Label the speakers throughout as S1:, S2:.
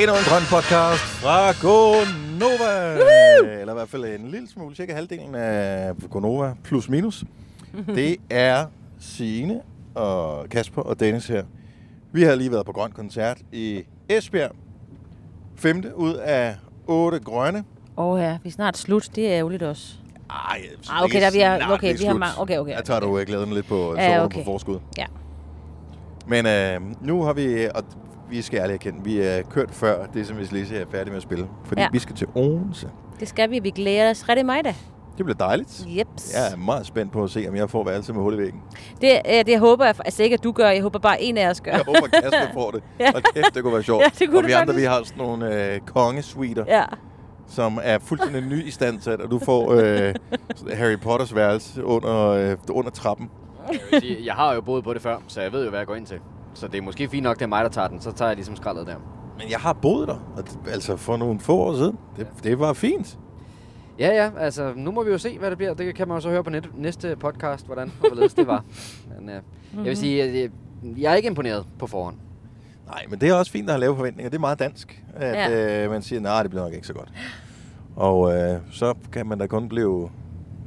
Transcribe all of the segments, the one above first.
S1: Endnu en grøn podcast fra Gonova. Eller i hvert fald en lille smule, cirka halvdelen af Gonova, plus minus. Det er Signe og Kasper og Dennis her. Vi har lige været på grøn koncert i Esbjerg. Femte ud af otte grønne.
S2: Åh oh, ja, vi er snart slut. Det er ærgerligt også.
S1: Ej, jeg synes
S2: Ah, okay,
S1: ikke
S2: der vi har-
S1: snart,
S2: okay,
S1: det er
S2: vi har
S1: slut.
S2: mange- okay, okay,
S1: Jeg tager dog jeg glæden lidt på,
S2: Ja,
S1: ja, okay.
S2: okay.
S1: på forskud.
S2: Ja.
S1: Men øh, nu har vi, og vi skal ærligt erkende, vi er kørt før det, som vi lige er færdige med at spille. Fordi
S2: Ja.
S1: ja. vi skal til Odense.
S2: Det skal vi. Vi glæder os rigtig meget da.
S1: Det bliver dejligt.
S2: Jeps.
S1: Jeg er meget spændt på at se, om jeg får værelse med hul i væggen.
S2: Det, øh, det håber jeg altså ikke, at du gør. Jeg håber bare, en af os gør.
S1: Jeg håber, Kasper får det.
S2: Ja.
S1: Og kæft, det kunne være sjovt.
S2: Ja, det kunne
S1: og
S2: det
S1: vi andre, vi
S2: faktisk.
S1: har sådan nogle øh, kongesuiter, ja.
S2: Ja.
S1: som er fuldstændig ny i standsat, og du får øh, Harry Potters værelse under, øh, under trappen.
S3: Jeg, vil sige, jeg har jo boet på det før, så jeg ved jo, hvad jeg går ind til. Så det er måske fint nok, det er mig, der tager den. Så tager jeg ligesom skraldet der.
S1: Men jeg har boet der, og det, altså for nogle få år siden. Det, det var fint.
S3: Ja, ja, altså nu må vi jo se, hvad det bliver. Det kan man jo så høre på net- næste podcast, hvordan og hvorledes det var. Men, øh, jeg vil sige, at jeg, jeg er ikke imponeret på forhånd.
S1: Nej, men det er også fint at have lave forventninger. Det er meget dansk, at ja. øh, man siger, nej, det bliver nok ikke så godt. Og øh, så kan man da kun blive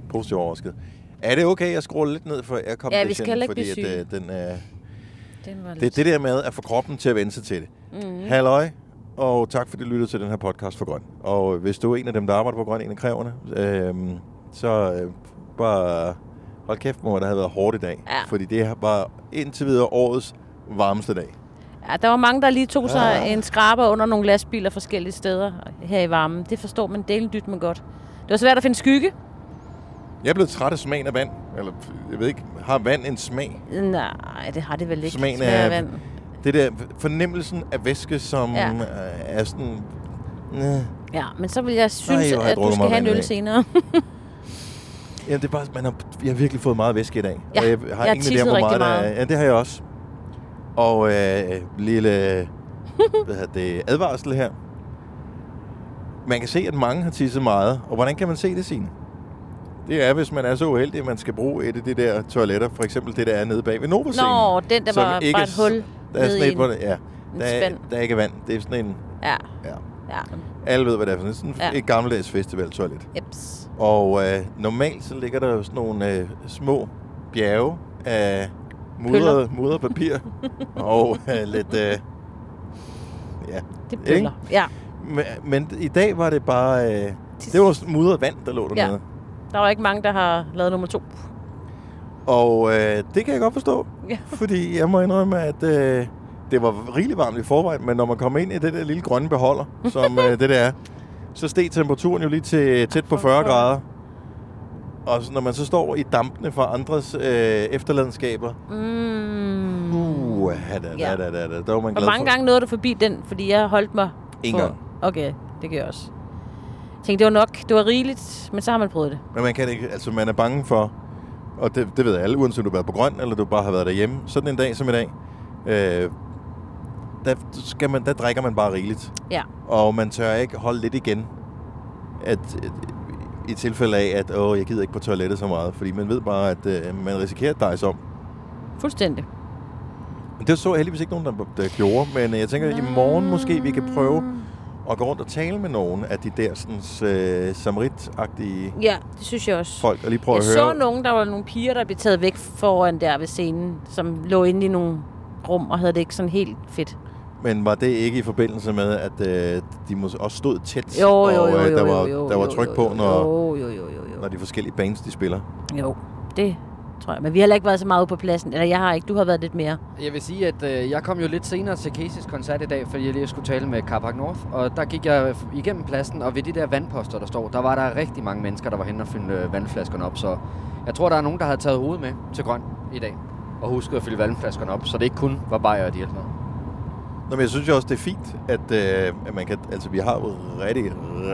S1: positivt overrasket. Er det okay, jeg scroller lidt ned for aircondition?
S2: Ja, vi skal heller ikke
S1: fordi
S2: blive
S1: at, øh, den, øh,
S2: Den var
S1: Det er det der med at få kroppen til at vende sig til det.
S2: Mm-hmm.
S1: Mm.
S2: Mhm.
S1: Halløj, og tak fordi du lyttede til den her podcast for Grøn. Og hvis du er en af dem, der arbejder på Grøn, en af kræverne, øh, så øh, bare hold kæft, mor, der havde været hårdt i dag.
S2: Ja.
S1: Fordi det var indtil videre årets varmeste dag.
S2: Ja, der var mange, der lige tog sig
S1: Ah.
S2: en skraber under nogle lastbiler forskellige steder her i varmen. Det forstår man delen dyt med godt. Det var svært at finde skygge.
S1: Jeg blev træt af smagen af vand. Eller, jeg ved ikke, har vand en smag?
S2: Nej, det har det vel ikke.
S1: Smagen
S2: Smager
S1: af-
S2: vand.
S1: Det der fornemmelsen af væske, som
S2: Ja.
S1: ja. øh, er sådan... Øh,
S2: Ja, men så vil jeg synes,
S1: hvor har jeg
S2: at du
S1: drukket
S2: skal
S1: meget
S2: have en
S1: vand i
S2: øl
S1: dag.
S2: senere.
S1: jamen, det er bare, man har, jeg har virkelig fået meget væske i dag.
S2: Ja,
S1: og jeg
S2: jeg
S1: har
S2: har
S1: ingen idé om,
S2: tisset
S1: hvor meget,
S2: rigtig
S1: Der,
S2: meget.
S1: er. ja, det har jeg også. Og øh, lille hvad hedder det, advarsel her. Man kan se, at mange har tisset meget. Og hvordan kan man se det, Signe? Det er, hvis man er så uheldig, at man skal bruge et af de der toiletter. For eksempel det, der er nede bag ved nova
S2: Nå, den der
S1: som
S2: var
S1: ikke
S2: bare
S1: er
S2: et
S1: s-
S2: hul
S1: Der er
S2: nede
S1: sådan
S2: i
S1: et,
S2: en-
S1: hvor det, ja.
S2: en
S1: Der er,
S2: spand.
S1: der er ikke vand. Det er sådan en...
S2: Ja,
S1: Ja.
S2: ja.
S1: Alle ved, hvad det er for noget. sådan
S2: Ja.
S1: ja. et gammeldags festivaltoilet.
S2: Jeps.
S1: Og øh, normalt så ligger der jo sådan nogle øh, små bjerge af mudret, mudret papir og øh, lidt... Øh, ja.
S2: Det
S1: Ikke?
S2: bøller. Ja,
S1: Men, men i dag var det bare... Øh, det var sådan mudret vand, der lå dernede. Ja.
S2: der var ikke mange, der har lavet nummer to.
S1: Og øh, det kan jeg godt forstå,
S2: Ja.
S1: fordi jeg må indrømme, at øh, det var rigeligt varmt i forvejen, men når man kommer ind i det der lille grønne beholder, som øh, det der er, så steg temperaturen jo lige til tæt på 40 grader. Og så, når man så står i dampene fra andres øh, efterladenskaber,
S2: Mm.
S1: uh, da, da,
S2: Ja.
S1: da, da, da, der var man
S2: Hvor
S1: glad
S2: mange
S1: for.
S2: gange nåede du forbi den? Fordi jeg holdt mig...
S1: En
S2: for-
S1: gang.
S2: Okay, det gør jeg også. Jeg tænkte, det var nok, det var rigeligt, men så har man prøvet det.
S1: Men man, kan ikke, altså, man er bange for, og det, det ved alle, uanset om du har været på grøn, eller du bare har været derhjemme, sådan en dag som i dag, øh, der, skal man, der drikker man bare rigeligt.
S2: Ja.
S1: Og man tør ikke holde lidt igen. At, at, I tilfælde af, at åh, jeg gider ikke på toilettet så meget. Fordi man ved bare, at øh, man risikerer at dejse om.
S2: Fuldstændig.
S1: Men det så jeg heldigvis ikke nogen, der, der gjorde. Men øh, jeg tænker, at i morgen måske vi kan prøve at gå rundt og tale med nogen af de der sådan, øh, samrit-agtige
S2: Ja, det synes jeg også.
S1: folk. Og lige prøve
S2: jeg
S1: at
S2: så
S1: høre.
S2: nogen, der var nogle piger, der blev taget væk foran der ved scenen, som lå inde i nogle rum og havde det ikke sådan helt fedt.
S1: Men var det ikke i forbindelse med, at øh, de måske også stod tæt?
S2: Jo, jo,
S1: og,
S2: jo, jo,
S1: øh, der
S2: jo,
S1: var,
S2: jo,
S1: der var
S2: jo,
S1: tryk
S2: jo,
S1: på,
S2: jo,
S1: når,
S2: Jo, jo, jo, jo, jo.
S1: når de forskellige bands, de spiller.
S2: Jo, det tror jeg. Men vi har heller ikke været så meget ude på pladsen. Eller jeg har ikke, du har været lidt mere.
S3: Jeg vil sige, at øh, jeg kom jo lidt senere til Casey's koncert i dag, fordi jeg lige skulle tale med Carpark North. Og der gik jeg f- igennem pladsen, og ved de der vandposter, der står, der var der rigtig mange mennesker, der var henne og fylde øh, vandflaskerne op. Så jeg tror, der er nogen, der havde taget hovedet med til grøn i dag. Og husket at fylde vandflaskerne op, så det ikke kun var bajer og de ældre.
S1: Nå, men jeg synes jo også, det er fint, at, øh, at man kan, altså, vi har jo rigtig,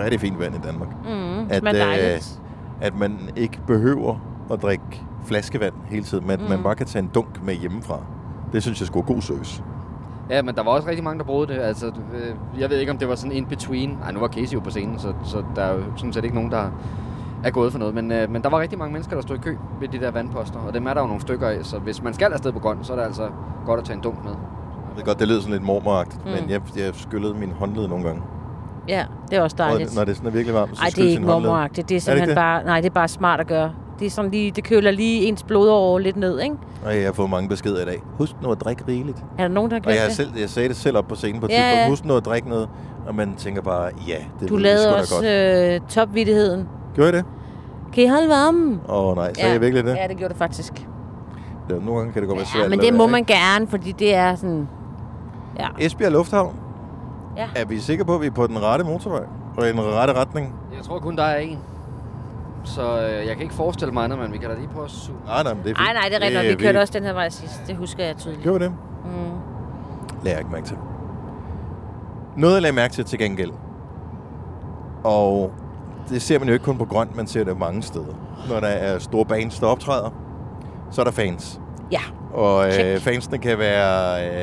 S1: rigtig fint vand i Danmark.
S2: Mm,
S1: At,
S2: at, men
S1: øh,
S2: dejligt.
S1: At man ikke behøver at drikke flaskevand hele tiden, men mm. man bare kan tage en dunk med hjemmefra. Det synes jeg skulle god service.
S3: Ja, men der var også rigtig mange, der brugte det. Altså, øh, jeg ved ikke, om det var sådan in between. Ej, nu var Casey jo på scenen, så, så der er jo sådan set ikke nogen, der er gået for noget. Men, øh, men der var rigtig mange mennesker, der stod i kø ved de der vandposter, og dem er der jo nogle stykker af. Så hvis man skal afsted på grøn, så er det altså godt at tage en dunk med.
S1: Jeg ved godt, det lyder sådan lidt mormoragtigt, mm. men
S2: Mm.
S1: jeg, jeg skyllede min håndled nogle gange.
S2: Ja, det er også
S1: Og
S2: dejligt.
S1: når det er sådan er virkelig varmt, så
S2: Nej, det
S1: skylles
S2: er ikke
S1: sin håndled.
S2: mormoragtigt. Det er simpelthen
S1: det?
S2: det bare, nej, det er bare smart at gøre. Det er sådan lige, det køler lige ens blodår lidt ned, ikke?
S1: Og jeg har fået mange beskeder i dag. Husk nu at drikke rigeligt.
S2: Er der nogen, der har
S1: Og
S2: glemt
S1: jeg, har
S2: det?
S1: selv, jeg sagde det selv op på scenen på et
S2: Ja,
S1: tidspunkt.
S2: ja.
S1: Husk nu at drikke noget. Og man tænker bare, ja, det
S2: du
S1: lyder
S2: lavede
S1: sgu da
S2: også
S1: godt.
S2: øh, topvittigheden.
S1: Gjorde I det?
S2: Kan I holde varmen?
S1: Åh oh, nej, sagde ja. jeg virkelig det?
S2: Ja, det gjorde det faktisk. Ja,
S1: Ja. Nogle gange kan det godt være svært. at
S2: men
S1: lade
S2: det må
S1: være,
S2: man gerne, fordi det er sådan... Ja.
S1: ikke? Esbjerg Lufthavn.
S2: Ja.
S1: Er vi sikre på, at vi er på den rette motorvej? Og i den rette retning?
S3: Jeg tror kun, der er en. Så øh, jeg kan ikke forestille mig andet, men vi kan da lige prøve at zoome.
S1: Nej, nej, men det er fint.
S2: Nej, nej, det er rigtigt. nok. Vi kørte også den her vej sidst. Det husker jeg tydeligt.
S1: Gjorde vi det?
S2: Mm.
S1: Lagde jeg ikke mærke til. Noget, jeg lagde mærke til til gengæld, og det ser man jo ikke kun på grønt, man ser det mange steder. Når der er store bands, der optræder, så er der fans.
S2: Ja,
S1: Og øh,
S2: Check.
S1: fansene kan være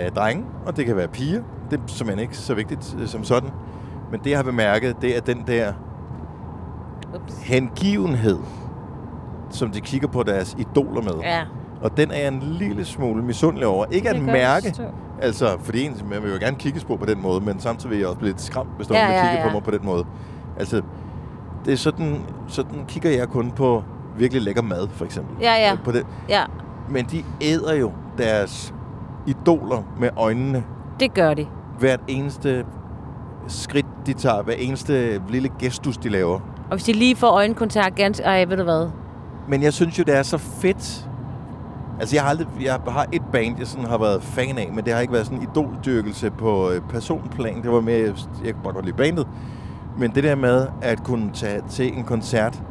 S1: øh, drenge, og det kan være piger. Det er simpelthen ikke så vigtigt øh, som sådan. Men det, jeg har bemærket, det er den der
S2: ups.
S1: hengivenhed, som de kigger på deres idoler med.
S2: Ja.
S1: Og den er jeg en lille smule misundelig over. Ikke
S2: Det
S1: at
S2: kan jeg
S1: mærke,
S2: forstå.
S1: altså, fordi en, man vil jo gerne kigges på på den måde, men samtidig vil jeg også blive lidt skræmt, hvis der
S2: Ja,
S1: ja, ja,
S2: ja,
S1: kigger på
S2: ja.
S1: mig på den måde. Altså, det er sådan, sådan kigger jeg kun på virkelig lækker mad, for eksempel.
S2: Ja, ja.
S1: Øh, På det.
S2: Ja,
S1: Men de æder jo deres idoler med øjnene.
S2: det gør de.
S1: Hvert eneste skridt, de tager, hver eneste lille gestus, de laver.
S2: Og hvis de lige får øjenkontakt ganske... Ej, ved du hvad?
S1: Men jeg synes jo, det er så fedt. Altså, jeg har, aldrig, jeg har et band, jeg sådan har været fan af, men det har ikke været sådan idoldyrkelse på øh, personplan. Det var mere, jeg jeg kunne bare godt lide bandet. Men det der med at kunne tage til en koncert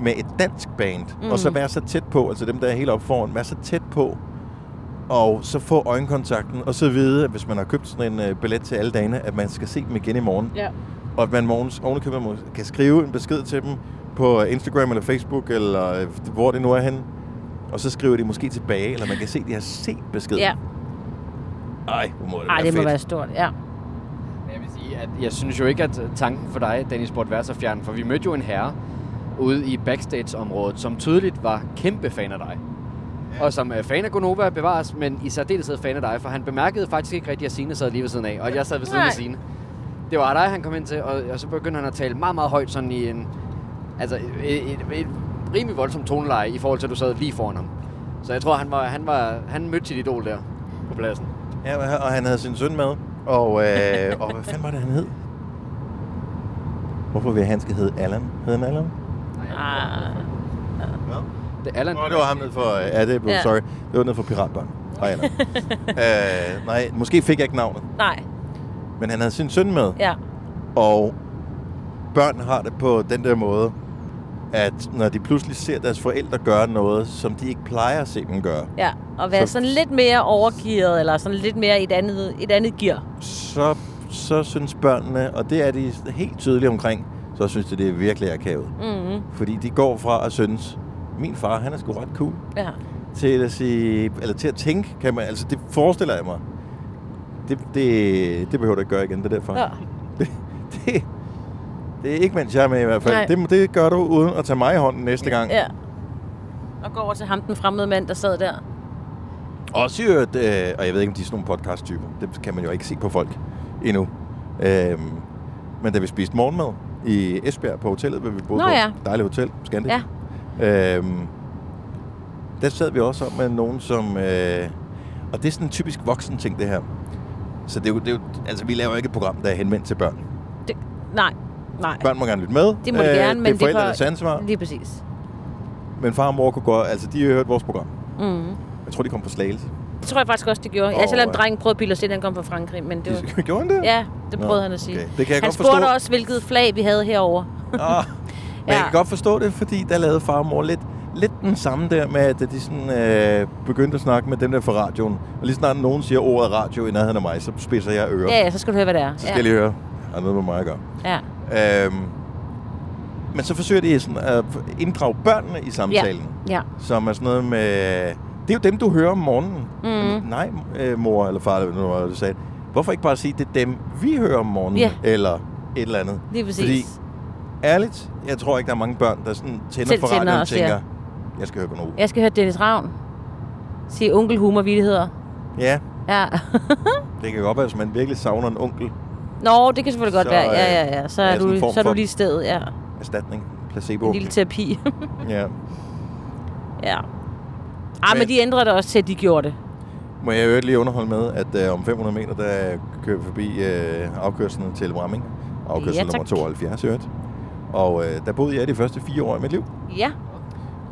S1: med et dansk band, mm. og så være så tæt på, altså dem, der er helt oppe foran, være så tæt på, og så få øjenkontakten, og så vide, at hvis man har købt sådan en øh, billet til alle dagene, at man skal se dem igen i morgen.
S2: Ja.
S1: Og at man morgens ovenikøbet må- kan skrive en besked til dem på øh, Instagram eller Facebook, eller øh, hvor det nu er henne. Og så skriver de måske tilbage, eller man kan se, at de har set beskeden.
S2: Ja.
S1: Ej, hvor må det
S2: Ej,
S1: være
S2: det
S1: fedt.
S2: må være stort. Ja.
S3: Jeg vil sige, at jeg synes jo ikke, at tanken for dig, Dennis, burde være så fjern, for vi mødte jo en herre ude i backstage-området, som tydeligt var kæmpe fan af dig. Og som er fan af Gonova bevares, men i særdeleshed fan af dig, for han bemærkede faktisk ikke rigtig, at Signe sad lige ved siden af, og jeg sad ved siden af
S2: Nej.
S3: Signe. Det var dig, han kom ind til, og, og så begyndte han at tale meget, meget højt, sådan i en, altså, et, et, et rimelig voldsom toneleje, i forhold til, at du sad lige foran ham. Så jeg tror, han, var, han, var, han mødte sit idol der på pladsen.
S1: Ja, og han havde sin søn med. Og, øh, og hvad fanden var det, han hed? Hvorfor vil jeg, han skal hedde Allan? Hed han Allan?
S2: Ah.
S1: Ja.
S3: Det er Allan.
S1: Nå, det var ham nede for... Øh, ja, det blev, ja.
S2: Ja.
S1: sorry. Det var nede for Piratbørn. Hej, Allan. øh, nej, måske fik jeg ikke navnet,
S2: Nej,
S1: men han havde sin søn med.
S2: ja.
S1: Og børn har det på den der måde, at når de pludselig ser deres forældre gøre noget, som de ikke plejer at se dem gøre,
S2: Ja, og være
S1: Så-
S2: så... sådan lidt mere overgearet, eller sådan lidt mere i et andet, et andet gear.
S1: så, så synes børnene, og det er de helt tydelige omkring, så synes de, det er virkelig akavet.
S2: Mm-hmm.
S1: Fordi de går fra at synes, min far, han er sgu ret cool,
S2: Ja.
S1: til at, sige, eller til at tænke, kan man, altså det forestiller jeg mig. Det, det, det behøver du ikke gøre igen, det der far.
S2: ja.
S1: Det, det er ikke, mens jeg er med i hvert
S2: Nej.
S1: fald. Det, det gør du uden at tage mig i hånden næste gang.
S2: Ja. Og går over til ham, den fremmede mand, der sad der.
S1: Også i øvrigt, øh, og jeg ved ikke, om de er sådan nogle podcast-typer. Det kan man jo ikke se på folk endnu. Øh, men da vi spiste morgenmad i Esbjerg på hotellet, hvor vi boede
S2: Nå
S1: på
S2: ja.
S1: dejligt hotel, Scandic. Ja. Øh, der sad vi også om med nogen, som... Øh, og det er sådan en typisk voksen ting, det her. Så det er jo, det er jo, altså, vi laver jo ikke et program, der er henvendt til børn.
S2: Det, nej, nej.
S1: Børn må gerne lytte med. Øh,
S2: Det må de gerne, men
S1: det
S2: det
S1: er
S2: er
S1: forældrenes
S2: for-
S1: ansvar.
S2: Lige præcis.
S1: Men far og mor kunne godt... Altså, de har hørt vores program.
S2: Mm.
S1: Jeg tror, de kom på Slagelse.
S2: Det tror jeg faktisk også, det gjorde.
S1: Åh,
S2: Jeg selvom
S1: ja.
S2: drengen prøvede at bilde os ind, han kom fra Frankrig, men det var...
S1: Gjorde han det?
S2: Ja, det
S1: Nå,
S2: prøvede Nå, han at sige.
S1: okay. Det kan jeg
S2: han
S1: godt
S2: spurgte
S1: forstå.
S2: også, hvilket flag vi havde herover.
S1: Ah, men ja. jeg kan
S2: Ja.
S1: godt forstå det, fordi der lavede far og mor lidt, lidt den samme der med, at de sådan, øh, begyndte at snakke med dem der fra radioen. Og lige snart nogen siger ordet radio i nærheden af mig, så spidser jeg ører.
S2: Ja, ja, så skal du høre, hvad det er.
S1: Så skal
S2: Ja.
S1: jeg lige høre, har noget med mig at gøre.
S2: ja.
S1: Øhm, men så forsøger de sådan at inddrage børnene i samtalen, ja.
S2: ja.
S1: som er sådan noget med... Det er jo dem, du hører om morgenen.
S2: Mhm.
S1: Nej, øh, mor eller far, eller hvad det nu var, du sagde. Hvorfor ikke bare sige, det er dem, vi hører om morgenen,
S2: Ja.
S1: eller et eller andet.
S2: Lige præcis.
S1: Fordi ærligt, jeg tror ikke, der er mange børn, der sådan tænder
S2: Selv
S1: for radioen
S2: tænder
S1: og
S2: og
S1: tænker,
S2: siger-
S1: jeg skal høre Gonova.
S2: Jeg skal høre Dennis Ravn sige onkel humor vittigheder.
S1: Ja,
S2: Ja.
S1: Det kan godt være, hvis man virkelig savner en onkel.
S2: Nå, det kan selvfølgelig godt
S1: Så,
S2: så, være. Ja,
S1: øh,
S2: ja, ja. Så
S1: er
S2: er,
S1: sådan en
S2: du,
S1: form
S2: så er
S1: for-
S2: du lige i stedet, ja.
S1: Erstatning. Placebo.
S2: En lille terapi.
S1: Ja.
S2: ja. Ah, men,
S1: Men-
S2: men de ændrede det også til, at de gjorde det.
S1: Må jeg i øvrigt lige underholde med, at øh, om 500 meter, der kører vi forbi øh, afkørslen til Bramming. Afkørsel
S2: Ja,
S1: nummer
S2: tak.
S1: 72 i øvrigt. Og øh, der boede jeg de første fire år af mit liv.
S2: Ja.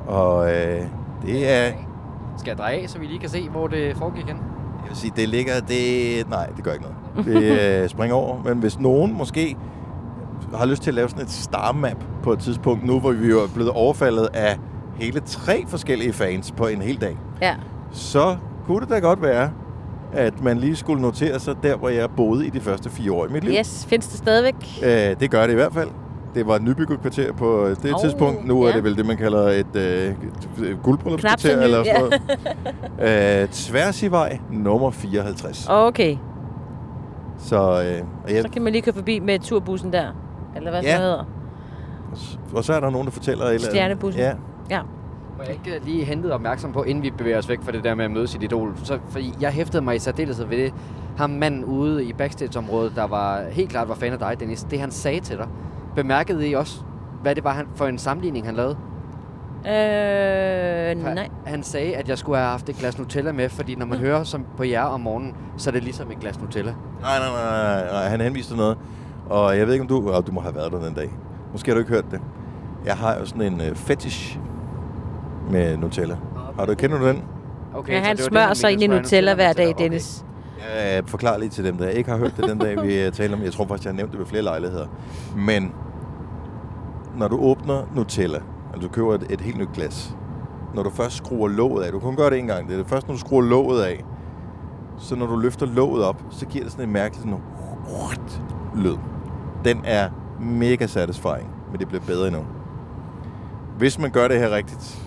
S1: Og øh, det er...
S3: Skal jeg dreje af, så vi lige kan se, hvor det foregik hen?
S1: Jeg vil sige, det ligger... Det, nej, det gør ikke noget. Det øh, springer over. Men hvis nogen måske har lyst til at lave sådan et star-map på et tidspunkt, nu hvor vi jo er blevet overfaldet af hele tre forskellige fans på en hel dag,
S2: Ja.
S1: så kunne det da godt være, at man lige skulle notere sig der, hvor jeg boede i de første fire år i mit liv.
S2: Yes, findes det stadigvæk?
S1: Øh, det gør det i hvert fald. Det var et nybygget kvarter på det
S2: Oh,
S1: tidspunkt. Nu er
S2: ja.
S1: det vel det, man kalder et, øh, et
S2: Knap så
S1: guldbryllupskvarter
S2: ny,
S1: eller sådan
S2: ja.
S1: noget. øh, tværs i vej, nummer 54. Oh.
S2: Okay,
S1: Så, øh, og, jeg,
S2: så kan man lige køre forbi med turbussen der. Eller hvad
S1: Ja.
S2: ja. det hedder.
S1: og så er der nogen, der fortæller... et Eller, andet.
S2: Stjernebussen.
S1: Ja.
S2: Ja.
S3: Må jeg ikke øh, lige hentet opmærksom på, inden vi bevæger os væk fra det der med at møde sit idol? Så, fordi jeg hæftede mig i særdeleshed ved det. Ham manden ude i backstage-området, der var helt klart var fan af dig, Dennis. Det han sagde til dig. Bemærkede I også, hvad det var han, for en sammenligning, han lavede?
S2: Øh,
S3: For
S2: nej. Mm.
S3: Han sagde, at jeg skulle have haft et glas Nutella med, fordi når man hører som på jer om morgenen, så er det ligesom et glas Nutella.
S1: Nej, nej, nej, nej, nej. Han henviste til noget. Og jeg ved ikke, om du... Oh, du må have været der den dag. Måske har du ikke hørt det. Jeg har jo sådan en øh, fetish med Nutella. Har du, kender du den?
S3: Okay,
S2: Ja, han
S3: det var det,
S2: smører sig ind
S3: mente,
S2: i
S3: smører
S2: Nutella hver dag,
S3: Okay.
S2: Dennis.
S1: Jeg forklarer lige til dem, der ikke har hørt det den dag, vi øh, taler om. Jeg tror faktisk, jeg har nævnt det ved flere lejligheder. Men når du åbner Nutella, altså du køber et, et helt nyt glas, når du først skruer låget af, du kan gøre det en gang, det er det først, når du skruer låget af, så når du løfter låget op, så giver det sådan en mærkelig sådan en lyd. Den er mega satisfying, men det bliver bedre endnu. Hvis man gør det her rigtigt,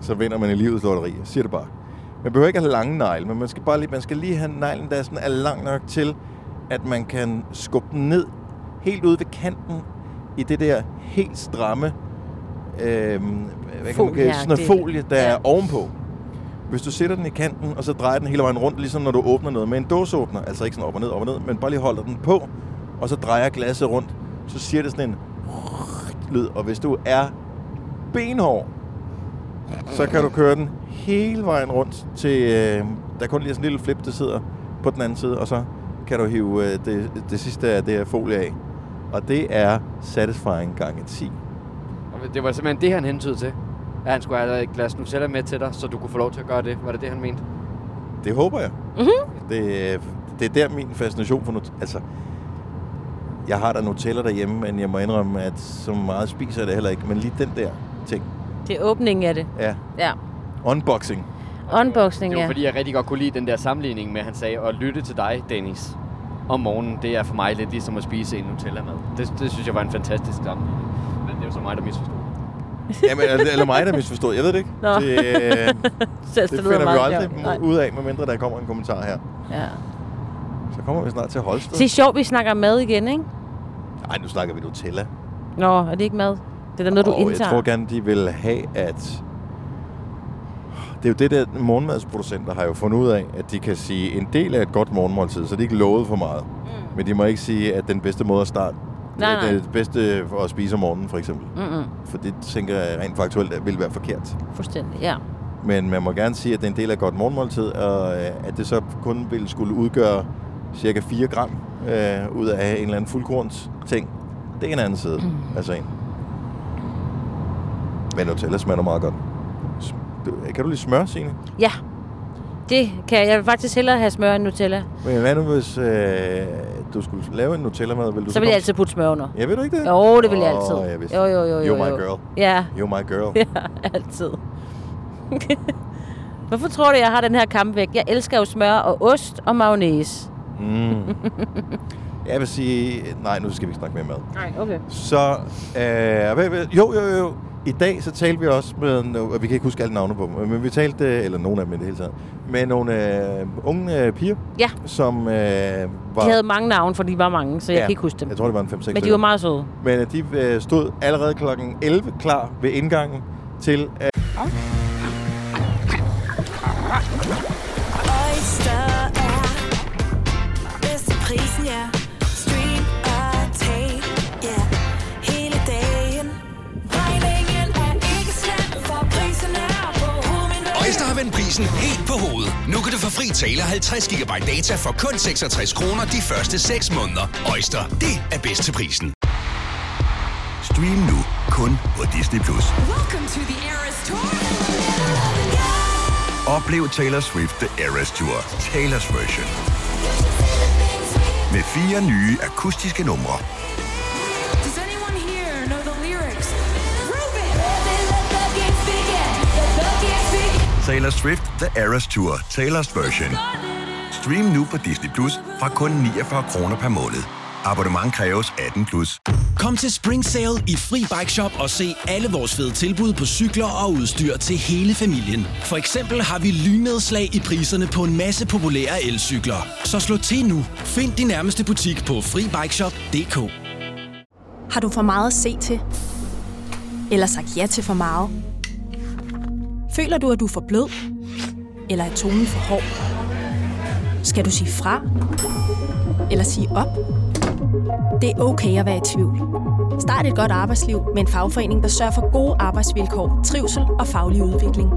S1: så vinder man i livets lotteri. Jeg siger det bare. Man behøver ikke have lange negle, men man skal, bare lige, man skal lige have neglen, der sådan er lang nok til, at man kan skubbe den ned helt ude ved kanten i det der helt stramme øh, hvad kan man, kalde det? sådan noget
S2: Folieagtigt.
S1: folie, der ja.
S2: Ja.
S1: er ovenpå. Hvis du sætter den i kanten, og så drejer den hele vejen rundt, ligesom når du åbner noget med en dåseåbner, altså ikke sådan op og ned, op og ned, men bare lige holder den på, og så drejer glasset rundt, så siger det sådan en lyd, og hvis du er benhård, så kan du køre den hele vejen rundt til, øh, der er kun lige sådan en lille flip, der sidder på den anden side, og så kan du hive øh, det, det sidste af det her folie af. Og det er satisfying gange 10.
S3: Og Det var simpelthen det, han hentede til. At han skulle have et glas Nutella med til dig, så du kunne få lov til at gøre det. Var det det, han mente?
S1: Det håber jeg.
S2: Mhm.
S1: Mm-hmm. Det, øh, det er der min fascination for Nutella. Altså, jeg har da Nutella derhjemme, men jeg må indrømme, at så meget spiser jeg det heller ikke. Men lige den der ting.
S2: Det er åbningen af det.
S1: Ja,
S2: Ja.
S1: unboxing.
S2: Unboxing,
S3: Det var
S2: ja.
S3: fordi, jeg rigtig godt kunne lide den der sammenligning med, at han sagde, at lytte til dig, Dennis, om morgenen, det er for mig lidt ligesom at spise en Nutella-mad. Det, det synes jeg var en fantastisk sammenligning. Men det er jo så mig, der misforstod.
S1: Jamen, altså, eller- eller mig, der misforstod. Jeg ved det ikke.
S2: Nå.
S1: Det, øh,
S2: Så
S1: Det finder vi jo aldrig
S2: sjovt. Nej.
S1: ud af, medmindre der kommer en kommentar her.
S2: Ja.
S1: Så kommer vi snart til Holsted.
S2: Det er sjovt, vi snakker mad igen, ikke?
S1: Nej, nu snakker vi Nutella.
S2: Nå, er det ikke mad? Det er da noget, du
S1: og jeg
S2: indtager.
S1: tror gerne, de vil have, at... Det er jo det der, morgenmadsproducenter har jo fundet ud af, at de kan sige, en del af et godt morgenmåltid, så de ikke lovet for meget. Mm. Men de må ikke sige, at den bedste måde at starte,
S2: Nej,
S1: det er
S2: nej. Mm.
S1: det bedste for at spise om morgenen, for eksempel.
S2: Mm-mm,
S1: For det tænker jeg rent faktuelt vil være forkert.
S2: fuldstændig, ja.
S1: Men man må gerne sige, at det er en del af et godt morgenmåltid, og øh, at det så kun ville skulle udgøre cirka 4 gram øh, ud af en eller anden fuldkorns ting. Det er en anden side mm. altså en. Men Nutella smager meget godt. S- du- Kan du lige smøre, Signe?
S2: Ja, det kan jeg. Jeg vil faktisk hellere have smør end Nutella.
S1: Men hvad nu, hvis øh, du skulle lave en Nutella-mad? Vil du
S2: Så vil jeg
S1: komme-
S2: altid putte smør under.
S1: Ja, ved du ikke det?
S2: Jo, det vil jeg
S1: Åh,
S2: altid.
S1: jeg vidste
S2: jo, jo, jo, jo.
S1: You're my
S2: jo.
S1: girl.
S2: Ja,
S1: You're my girl.
S2: ja, altid. Hvorfor tror du, jeg har den her kampvægt? Jeg elsker jo smør og ost og mayonnaise.
S1: Mm. Jeg vil sige... Nej, nu skal vi ikke snakke mere mad.
S2: Nej, okay.
S1: Så, øh, hvad, hvad, jo, jo, jo. I dag så talte vi også med, no- og vi kan ikke huske alle navne på dem, men vi talte, øh, eller nogen af dem i det hele taget, med nogle øh, unge øh, piger,
S2: Ja,
S1: som øh, var...
S2: de havde mange navne, for de var mange, så jeg kan ikke huske dem.
S1: Jeg tror, det var en 5-6
S2: Men de var meget søde.
S1: Men øh, de øh, stod allerede kl. 11 klar ved indgangen til... Øh,
S4: Oyster er prisen, ja. Stream og tag, ja. Hele dagen. Regningen er ikke slem, for prisen er på hovedet.
S5: Øjster har vendt prisen helt på hovedet. Nu kan du få fri tale 50 GB data for kun 66 kroner de første 6 måneder. Øjster, det er bedst til prisen.
S6: Stream nu kun på Disney+. Plus.
S7: Welcome to the Eras Tour.
S6: Oplev Taylor Swift The Eras Tour, Taylor's version. Med fire nye akustiske numre.
S7: Does anyone here know the lyrics?
S6: Taylor Swift The Eras Tour, Taylor's version. Stream nu på Disney Plus fra kun 49 kroner per måned. Abonnement kræves 18 plus.
S8: Kom til Spring Sale i Fri Bike Shop og se alle vores fede tilbud på cykler og udstyr til hele familien. For eksempel har vi lynedslag i priserne på en masse populære elcykler. Så slå til nu. Find din nærmeste butik på FriBikeShop.dk
S9: Har du for meget at se til? Eller sagt ja til for meget? Føler du, at du er for blød? Eller er tonen for hård? Skal du sige fra? Eller sige op? Det er okay at være i tvivl. Start et godt arbejdsliv med en fagforening, der sørger for gode arbejdsvilkår, trivsel og faglig udvikling.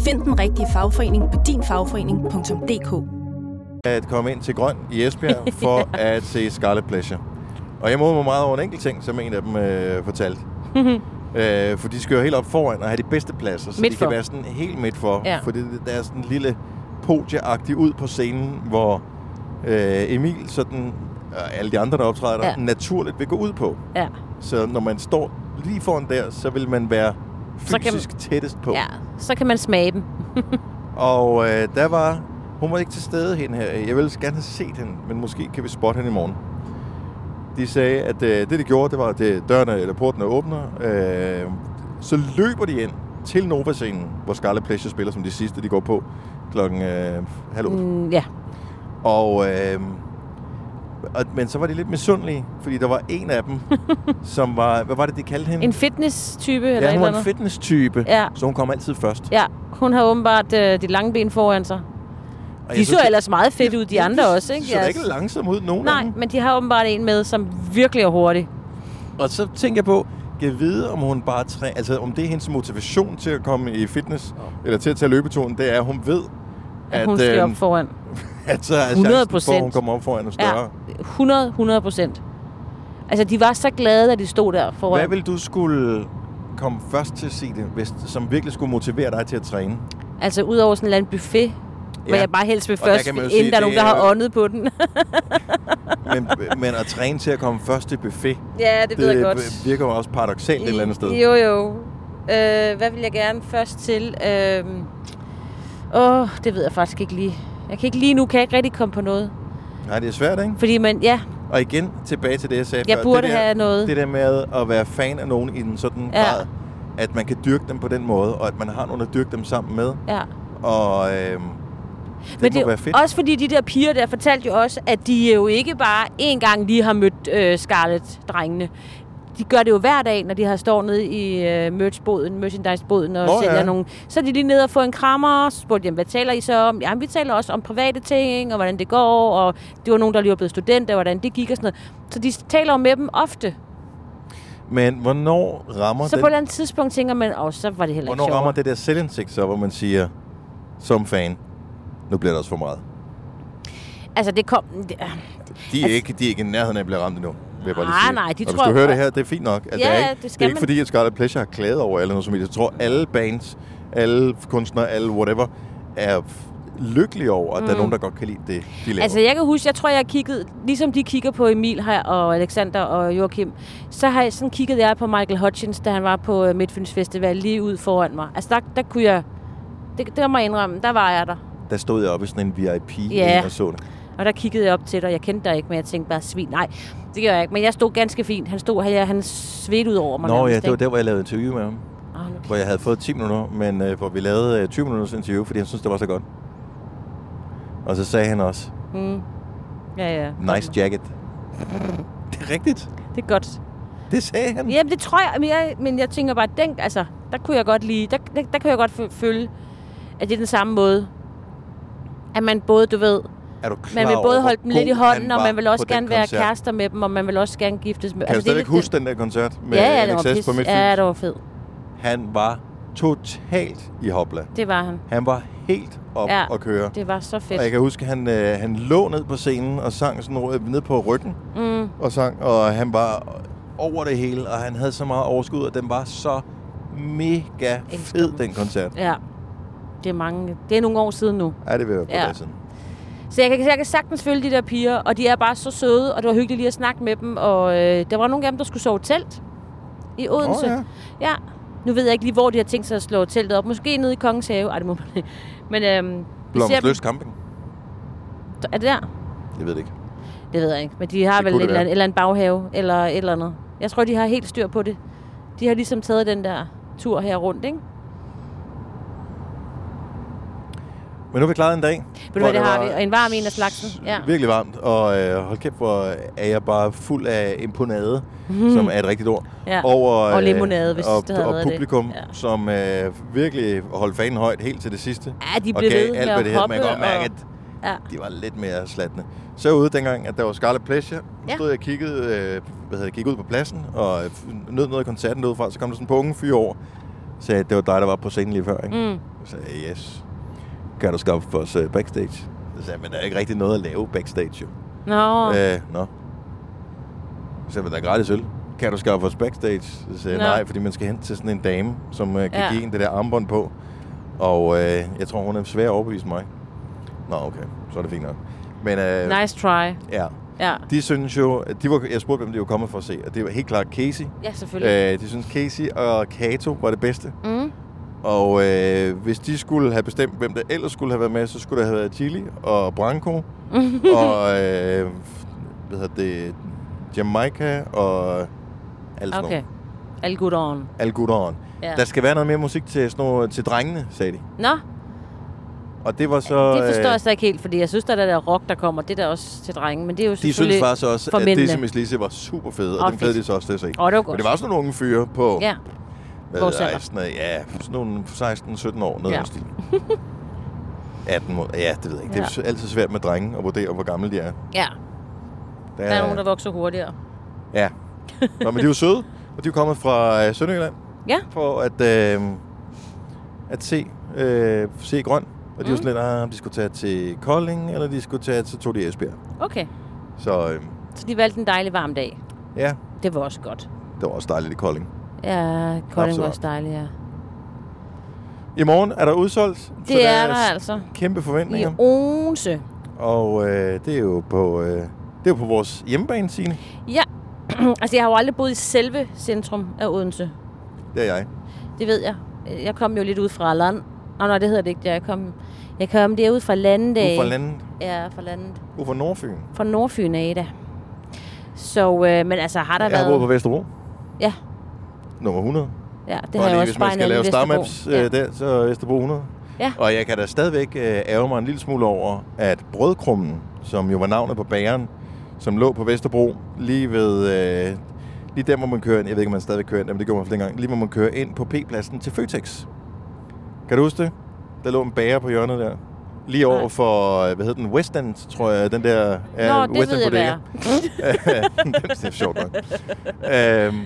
S9: Find den rigtige fagforening på dinfagforening.dk.
S1: at komme ind til Grøn i Esbjerg for at se Scarlet Pleasure. Og jeg modede mig meget over en enkelt ting, som en af dem øh, fortalte. øh, for de skal jo helt op foran og have de bedste pladser, så
S2: Midt
S1: de
S2: for.
S1: kan være sådan helt midt for.
S2: Ja.
S1: Fordi det- der er sådan en lille podieagtig ud på scenen, hvor øh, Emil sådan, og alle de andre, der optræder der,
S2: Ja.
S1: ja. naturligt vil gå ud på.
S2: Ja.
S1: Så når man står lige foran der, så vil man være
S2: Så kan-
S1: fysisk tættest på.
S2: ja, så kan man smage dem.
S1: Og øh, der var... Hun var ikke til stede hende her. Jeg ville så gerne have set hende, men måske kan vi spotte hende i morgen. De sagde, at øh, det, de gjorde, det var, at øh, dørene eller portene åbner. Øh, så løber de ind til Nova-scenen, hvor Scarlet Pleasure spiller som de sidste, de går på klokken øh, halv otte. Mm.
S2: Mm, ja,
S1: Og, øh, og, men så var de lidt misundelige, fordi der var en af dem, som var... Hvad var det, de kaldte hende?
S2: en fitness-type eller
S1: ja, hun
S2: et
S1: var
S2: eller
S1: en
S2: andet.
S1: fitness-type,
S2: Ja.
S1: så hun kom altid først.
S2: Ja, hun har åbenbart øh, de lange ben foran sig.
S1: Og
S2: De
S1: jeg
S2: så
S1: synes,
S2: ellers meget fedt ud, de andre også, ikke?
S1: De så da
S2: Ja.
S1: ikke langsomt ud, nogen af
S2: Nej,
S1: dem.
S2: men de har åbenbart en med, som virkelig er hurtig.
S1: Og så tænker jeg på, kan jeg vide, om hun bare træ... Altså, om det er hendes motivation til at komme i fitness, eller til at tage løbeturen, det er, at hun ved,
S2: At, hun
S1: øh,
S2: skal op foran.
S1: at så er chancen
S2: 100
S1: for, at hun
S2: procent.
S1: kommer op foran og
S2: Ja,
S1: større.
S2: 100, 100 procent. Altså, de var så glade, da de stod der
S1: Ja.
S2: foran.
S1: Hvad vil du skulle komme først til at se det, hvis, som virkelig skulle motivere dig til at træne?
S2: Altså, ud over sådan en eller anden buffet, ja. hvor
S1: Ja.
S2: jeg bare helst vil
S1: Og der
S2: først,
S1: kan man jo
S2: inden
S1: sige,
S2: der er
S1: det
S2: nogen, der
S1: er
S2: har
S1: jo-
S2: åndet på den.
S1: Men, men at træne til at komme først til buffet,
S2: ja, det ved jeg godt.
S1: virker jo også paradoxalt et eller andet sted.
S2: Jo, jo. Øh, hvad vil jeg gerne først til? Øh, åh, det ved jeg faktisk ikke lige. Jeg kan ikke lige nu, kan jeg ikke rigtig komme på noget.
S1: Nej, det er svært, ikke?
S2: Fordi man, ja,
S1: Og igen, tilbage til det, jeg sagde
S2: Jeg
S1: før.
S2: burde
S1: det der,
S2: have noget.
S1: Det der med at være fan af nogen i en sådan
S2: Ja.
S1: ja. grad, at man kan dyrke dem på den måde, og at man har nogen at dyrke dem sammen med.
S2: ja.
S1: Og øhm, det
S2: Men
S1: må
S2: det,
S1: være fedt.
S2: Også fordi de der piger der fortalte jo også, at de øh, jo ikke bare én gang lige har mødt øh, Scarlett-drengene. De gør det jo hver dag, når de har står nede i øh, merchboden, merchandiseboden og
S1: Nå,
S2: oh, sælger
S1: ja.
S2: nogle. Så er de lige nede og får en krammer, og så spurgte de, hvad taler I så om? Jamen, vi taler også om private ting, og hvordan det går, og det var nogen, der lige var blevet studenter, og hvordan det gik og sådan noget. Så de taler jo med dem ofte.
S1: Men hvornår rammer,
S2: Så
S1: den,
S2: på et eller andet tidspunkt tænker man, åh, så var det heller ikke
S1: hvornår rammer
S2: sjovt.
S1: det der selvindsigt så, hvor man siger, som fan, nu bliver det også for meget.
S2: Altså, det kom... Det,
S1: De er, ikke, de er ikke i nærheden af at blive ramt endnu. Vil jeg bare lige
S2: Altså-
S1: sige.
S2: Nej, nej, de
S1: og
S2: tror
S1: hvis
S2: jo-
S1: du hører det her, det er fint nok. At
S2: Ja,
S1: det er
S2: ja,
S1: ikke,
S2: det skal
S1: det er ikke
S2: man.
S1: fordi, at Scarlet Pleasure har klaget over alle noget som helst. Jeg tror, alle bands, alle kunstnere, alle whatever, er f- lykkelige over, at mm. der er nogen, der godt kan lide det, de laver.
S2: Altså, jeg kan huske, jeg tror, jeg kiggede, ligesom de kigger på Emil her, og Alexander og Joachim, så har jeg sådan kigget jeg på Michael Hutchins, da han var på øh, Midtfyns Festival, lige ud foran mig. Altså, der, der kunne jeg... Det, det må jeg indrømme, der var jeg der.
S1: Der stod jeg oppe i sådan en VIP
S2: Ja.
S1: og så det.
S2: Og der kiggede jeg op til dig, jeg kendte dig ikke, men jeg tænkte bare, svin, nej, det gør jeg ikke. Men jeg stod ganske fint. Han stod her, han svedte ud over mig.
S1: Nå
S2: nærmest,
S1: ja, det var
S2: ikke?
S1: der, hvor jeg lavede interview med ham.
S2: Åh, nu
S1: Hvor jeg havde fået 10 minutter, men øh, hvor vi lavede øh, 20 minutters interview, fordi han syntes, det var så godt. Og så sagde han også,
S2: Ja, ja.
S1: nice jacket. det er rigtigt.
S2: Det er godt.
S1: Det sagde han.
S2: Jamen, det tror jeg, men jeg, men jeg tænker bare, den, altså, der kunne jeg godt lide, der, der, der kunne jeg godt fø- føle, at det er den samme måde. At man både, du ved,
S1: Er du klar
S2: Man vil
S1: over,
S2: både
S1: hvor
S2: holde dem lidt i
S1: god
S2: hånden,
S1: han
S2: og
S1: var
S2: man vil også
S1: på den
S2: gerne være
S1: koncert?
S2: kærester med dem, og man vil også gerne giftes med
S1: Kan altså, du
S2: det er
S1: stadigvæk
S2: lidt-
S1: huske den der koncert med
S2: ja, ja, det var
S1: NXS på
S2: pis.
S1: Midtfyn?
S2: Ja, det var fed.
S1: Han var totalt i hopla.
S2: Det var han.
S1: Han var helt op
S2: Ja,
S1: at køre.
S2: Det var så fedt.
S1: Og jeg kan huske, han, øh, han lå ned på scenen og sang sådan noget ned på ryggen
S2: Mm.
S1: og sang, og han var over det hele, og han havde så meget overskud, og den var så mega
S2: Elsker
S1: fed,
S2: den.
S1: den koncert.
S2: Ja. Det er, mange, det er nogle år siden nu.
S1: Ja, det vil jeg på
S2: Ja.
S1: ja. siden.
S2: Så jeg kan, jeg kan sagtens følge de der piger, og de er bare så søde, og det var hyggeligt lige at snakke med dem. Og øh, der var nogle af dem, der skulle sove i telt i Odense.
S1: ja.
S2: ja. Nu ved jeg ikke lige, hvor de har tænkt sig at slå teltet op. Måske nede i Kongens Have. Ej, det må man ikke. Men øhm, vi ser dem.
S1: Blomsløs Camping.
S2: Er det der?
S1: Jeg ved det ikke.
S2: Det ved jeg ikke. Men de har
S1: Det
S2: vel
S1: kunne
S2: en
S1: det
S2: eller,
S1: være.
S2: anden, eller en baghave, eller et eller andet. Jeg tror, de har helt styr på det. De har ligesom taget den der tur her rundt, ikke?
S1: Men nu har vi klaret en dag.
S2: du
S1: hvor
S2: hvad, det har
S1: var
S2: vi, og en varm en af slagsen, ja.
S1: Virkelig varmt, og øh, hold kæft, hvor er jeg bare fuld af imponade, som er et rigtigt ord.
S2: Mhm. Ja.
S1: Over, øh,
S2: Og limonade, hvis
S1: og,
S2: det havde
S1: og
S2: været det.
S1: publikum,
S2: Ja.
S1: som øh, virkelig holdt fanen højt helt til det sidste.
S2: Ja, de
S1: og
S2: blev
S1: gav alt,
S2: ved med
S1: hvad
S2: at
S1: det havde. Man kan
S2: hoppe,
S1: godt mærke,
S2: og-
S1: at
S2: Ja.
S1: de var lidt mere slatne. Så ude dengang, at der var Scarlet Pleasure,
S2: Ja.
S1: ja. stod jeg og kiggede, øh, hvad hedder det, gik ud på pladsen, og øh, nød noget af koncerten ud fra, så kom der sådan en punge fyr over, sagde, at det var dig, der var på scenen lige før, ikke?
S2: Mm.
S1: Så sagde jeg, yes, kan du skaffe for os øh, backstage? Så sagde jeg, men der er ikke rigtig noget at lave backstage, jo.
S2: Nå, øh.
S1: Øh, nå. Så sagde jeg, men der er gratis øl. Kan du skaffe os backstage? Så sagde jeg,
S2: Nå.
S1: nej, fordi man skal hen til sådan en dame, som øh, kan
S2: Ja.
S1: ja. give en det der armbånd på. Og øh, jeg tror, hun er svær at overbevise mig. Nå, okay. Så er det fint nok. Men øh,
S2: nice try.
S1: ja,
S2: Ja,
S1: de synes jo... at De var, jeg spurgte, hvem de var kommet for at se, og det var helt klart Casey.
S2: ja selvfølgelig. Øh.
S1: Øh, de synes, Casey og Kato var det bedste.
S2: Mm.
S1: Og øh, hvis de skulle have bestemt, hvem der ellers skulle have været med, så skulle der have været Chili og Branco og øh, hvad hedder det, Jamaica og alle sådan
S2: Okay.
S1: okay.
S2: All good on.
S1: Al Gutteren.
S2: Ja.
S1: Ja. Der skal være noget mere musik til, sådan nogle, til drengene, sagde de.
S2: Nå,
S1: Og det var så...
S2: det forstår
S1: øh,
S2: jeg så ikke helt, fordi jeg synes, der er det der rock, der kommer. Det er der også til drenge, men det er jo
S1: de
S2: selvfølgelig
S1: synes faktisk også,
S2: for
S1: at
S2: mændene.
S1: Decimus Lise var super fed, og,
S2: Åh,
S1: og den glædede
S2: fedt.
S1: de sig også til at se.
S2: Åh, det var godt.
S1: Men det var sådan nogle unge fyre på,
S2: Ja,
S1: hvad
S2: vores
S1: ved jeg,
S2: alder.
S1: sådan noget, ja, sådan nogle 16-17 år, noget
S2: Ja.
S1: ja. stil. 18 måneder, ja, det ved jeg ikke. Det
S2: Ja.
S1: er altid svært med drenge at vurdere, hvor gamle de er.
S2: ja.
S1: Der,
S2: Der er nogen, der vokser hurtigere.
S1: Ja. Nå, men de er jo søde, og de er kommet fra øh, Sønderjylland
S2: Ja.
S1: for at, øh, at se, øh, se grøn. Og de mm. var sådan lidt, ah, om de skulle tage til Kolding, eller de skulle tage til Tor de Esbjerg.
S2: Okay,
S1: Så øh,
S2: så de valgte en dejlig varm dag.
S1: ja,
S2: Det var også godt.
S1: det var også dejligt i Kolding.
S2: Ja, Kolding var
S1: Absolut.
S2: også dejlig, ja.
S1: I morgen er der udsolgt. så
S2: Det er
S1: der
S2: der altså.
S1: Kæmpe
S2: I
S1: forventninger.
S2: Odense.
S1: Og øh, det er jo på... Øh, det er jo på vores hjemmebane, Signe.
S2: Ja, altså jeg har jo aldrig boet i selve centrum af Odense.
S1: Det er jeg.
S2: Det ved jeg. Jeg kom jo lidt ud fra land. Nå, nej, det hedder det ikke. Jeg kom, jeg kom derude fra landet.
S1: Ude fra landet.
S2: Ja, fra landet.
S1: Ude fra Nordfyn.
S2: Fra Nordfyn af da. Så, øh, men altså har der
S1: Jeg har
S2: været...
S1: boet på Vesterbro.
S2: Ja,
S1: nummer 100.
S2: ja, det
S1: Det
S2: har
S1: Bare
S2: jeg
S1: lige,
S2: også
S1: hvis man
S2: spejlet
S1: skal lave starmaps
S2: ja.
S1: øh, der, så er Vesterbro 100.
S2: Ja.
S1: Og jeg kan da stadigvæk øh, ærge mig en lille smule over, at brødkrummen, som jo var navnet på bageren, som lå på Vesterbro, lige ved... Øh, lige der, hvor man kører ind. Jeg ved ikke, om man stadigvæk kører ind, men det gjorde man for dengang. Lige hvor man kører ind på P-pladsen til Føtex. Kan du huske det? Der lå en bager på hjørnet der. Lige over
S2: Nej.
S1: for, øh, hvad hedder den, West End, tror jeg, den der øh,
S2: Nå, det ved jeg, hvad
S1: Bodega.
S2: er.
S1: det er sjovt nok. Øhm,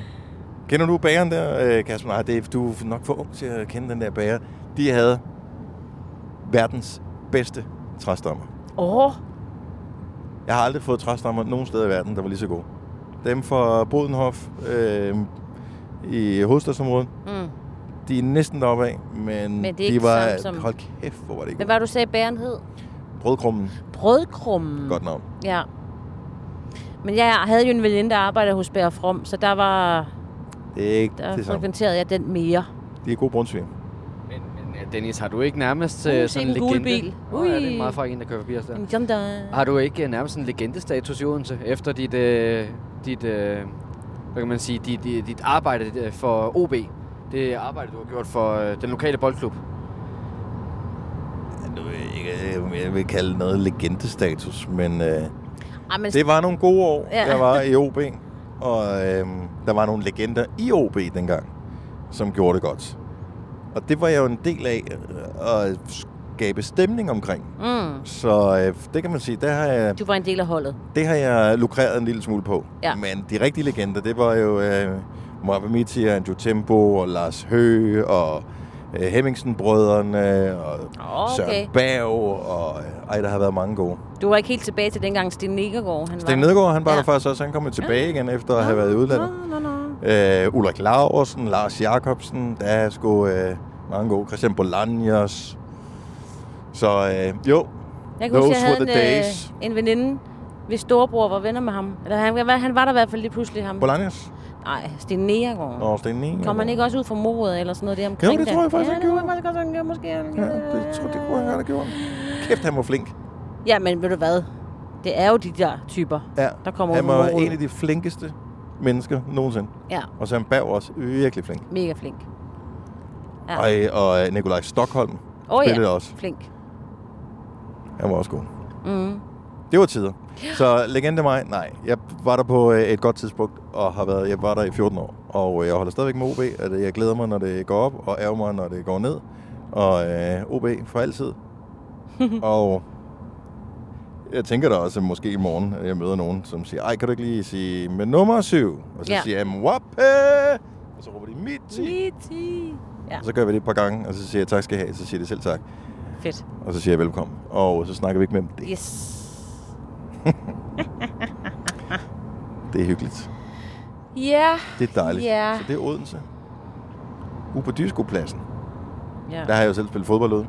S1: kender du bageren der, øh, Kasper? Nej, det er, du er nok for ung til at kende den der bager. De havde verdens bedste træstammer.
S2: Åh,
S1: Jeg har aldrig fået træstammer nogen steder i verden, der var lige så gode. Dem fra Bodenhof øh, i hovedstadsområdet,
S2: mm.
S1: de er næsten deroppe af, men,
S2: Men det er
S1: de
S2: ikke
S1: var...
S2: det samme som-
S1: Hold kæft, hvor var det ikke
S2: Hvad
S1: var...
S2: var det, du sagde, bæren hed?
S1: Brødkrummen,
S2: Brødkrummen.
S1: godt navn.
S2: Ja. Men jeg havde jo en veninde, der arbejdede hos Bær From, så der var
S1: Det er ikke
S2: der
S1: det samme.
S2: frekventerede jeg den mere.
S1: De er gode brunsvin.
S3: Men, men øh, Dennis, har du ikke nærmest
S2: Uh,
S3: uh,
S2: se
S3: sådan
S2: den
S3: en
S2: gule
S3: legende?
S2: bil.
S3: Ui. Ja, det
S2: Ui.
S3: er meget fra en, der kører forbi os der.
S2: En John Donne.
S1: Ah,
S3: Har du ikke øh, nærmest en legendestatus i Odense, efter dit, øh, dit øh, hvad kan man sige, dit, dit, dit arbejde øh, for OB? Det arbejde, du har gjort for øh, den lokale boldklub.
S1: Nu ved jeg ikke, om jeg vil kalde noget legendestatus, men... Øh,
S2: Ej, Ah, men
S1: Det var nogle gode år,
S2: Ja.
S1: ja. jeg var i OB. Og øhm, der var nogle legender i OB dengang, som gjorde det godt. Og det var jeg jo en del af, øh, og skabe stemning omkring.
S2: Mm.
S1: Så øh, det kan man sige, der har jeg,
S2: Du var en del af holdet.
S1: det har jeg lukreret en lille smule på.
S2: Ja.
S1: Men de rigtige legender, det var jo øh, Moab Miti og Andrew Tempo og Lars Høgh og øh, Hemmingsen-brødrene og
S2: Åh, okay.
S1: Søren Berg. Og, øh, ej, der har været mange gode.
S2: Du var ikke helt tilbage til dengang Sten Negergaard, han
S1: Sten
S2: var.
S1: Nedergaard, han var
S2: Ja.
S1: ja. der faktisk også. Han kom jo tilbage igen efter at have været i udlandet.
S2: Nå, nå, nå.
S1: Øh, Ulrik Laursen, Lars Jakobsen, der er sgu øh, mange gode. Christian Bolaños. Så øh, jo,
S2: Jeg kan
S1: Those
S2: huske, jeg
S1: were
S2: havde en,
S1: the days.
S2: øh, en veninde, hvis storebror var venner med ham. Eller han, han var der i hvert fald lige pludselig ham.
S1: Bolaños
S2: Nej, Sten Negergaard.
S1: og Sten Nedergaard.
S2: Kom han ikke også ud fra mordet eller sådan noget der omkring
S1: det tror jeg
S2: der?
S1: faktisk,
S2: ja,
S1: han
S2: det tror
S1: gjorde.
S2: jeg faktisk også, han gjorde måske. Han
S1: Ja, det, tror, det kunne han godt have gjort. Kæft, han var flink.
S2: Ja, men ved du hvad? Det er jo de der typer,
S1: Ja.
S2: der kommer
S1: Han
S2: ud fra
S1: var
S2: mordet.
S1: en af de flinkeste mennesker nogensinde.
S2: Ja,
S1: Og Søren Berg også virkelig flink.
S2: mega flink. Ja.
S1: Ja. Og, og øh, Nikolaj Stockholm
S2: Åh oh,
S1: spillede
S2: ja,
S1: også.
S2: flink.
S1: Han var også god.
S2: Mm.
S1: Det var tider. Så legende mig, nej. Jeg var der på øh, et godt tidspunkt, og har været, jeg var der i 14 år. Og øh, jeg holder stadigvæk med OB, at øh, jeg glæder mig, når det går op, og ærger mig, når det går ned. Og øh, OB for altid. og jeg tænker da også, at måske i morgen, at jeg møder nogen, som siger, ej, kan du ikke lige sige med nummer 7? Og så
S2: Ja.
S1: ja. siger jeg, Mwappe! Og så råber de, Mitti!
S2: Titi. Ja,
S1: Og så gør vi det et par gange, og så siger jeg, tak skal I have. Så siger de selv tak.
S2: fedt.
S1: Og så siger jeg, velkommen. Og så snakker vi ikke med dem. Det,
S2: Yes.
S1: det er hyggeligt.
S2: Ja.
S1: Det er dejligt.
S2: Ja.
S1: Så det er Odense. Ude på Dyskopladsen.
S2: ja.
S1: Der har jeg jo selv spillet fodbold ude.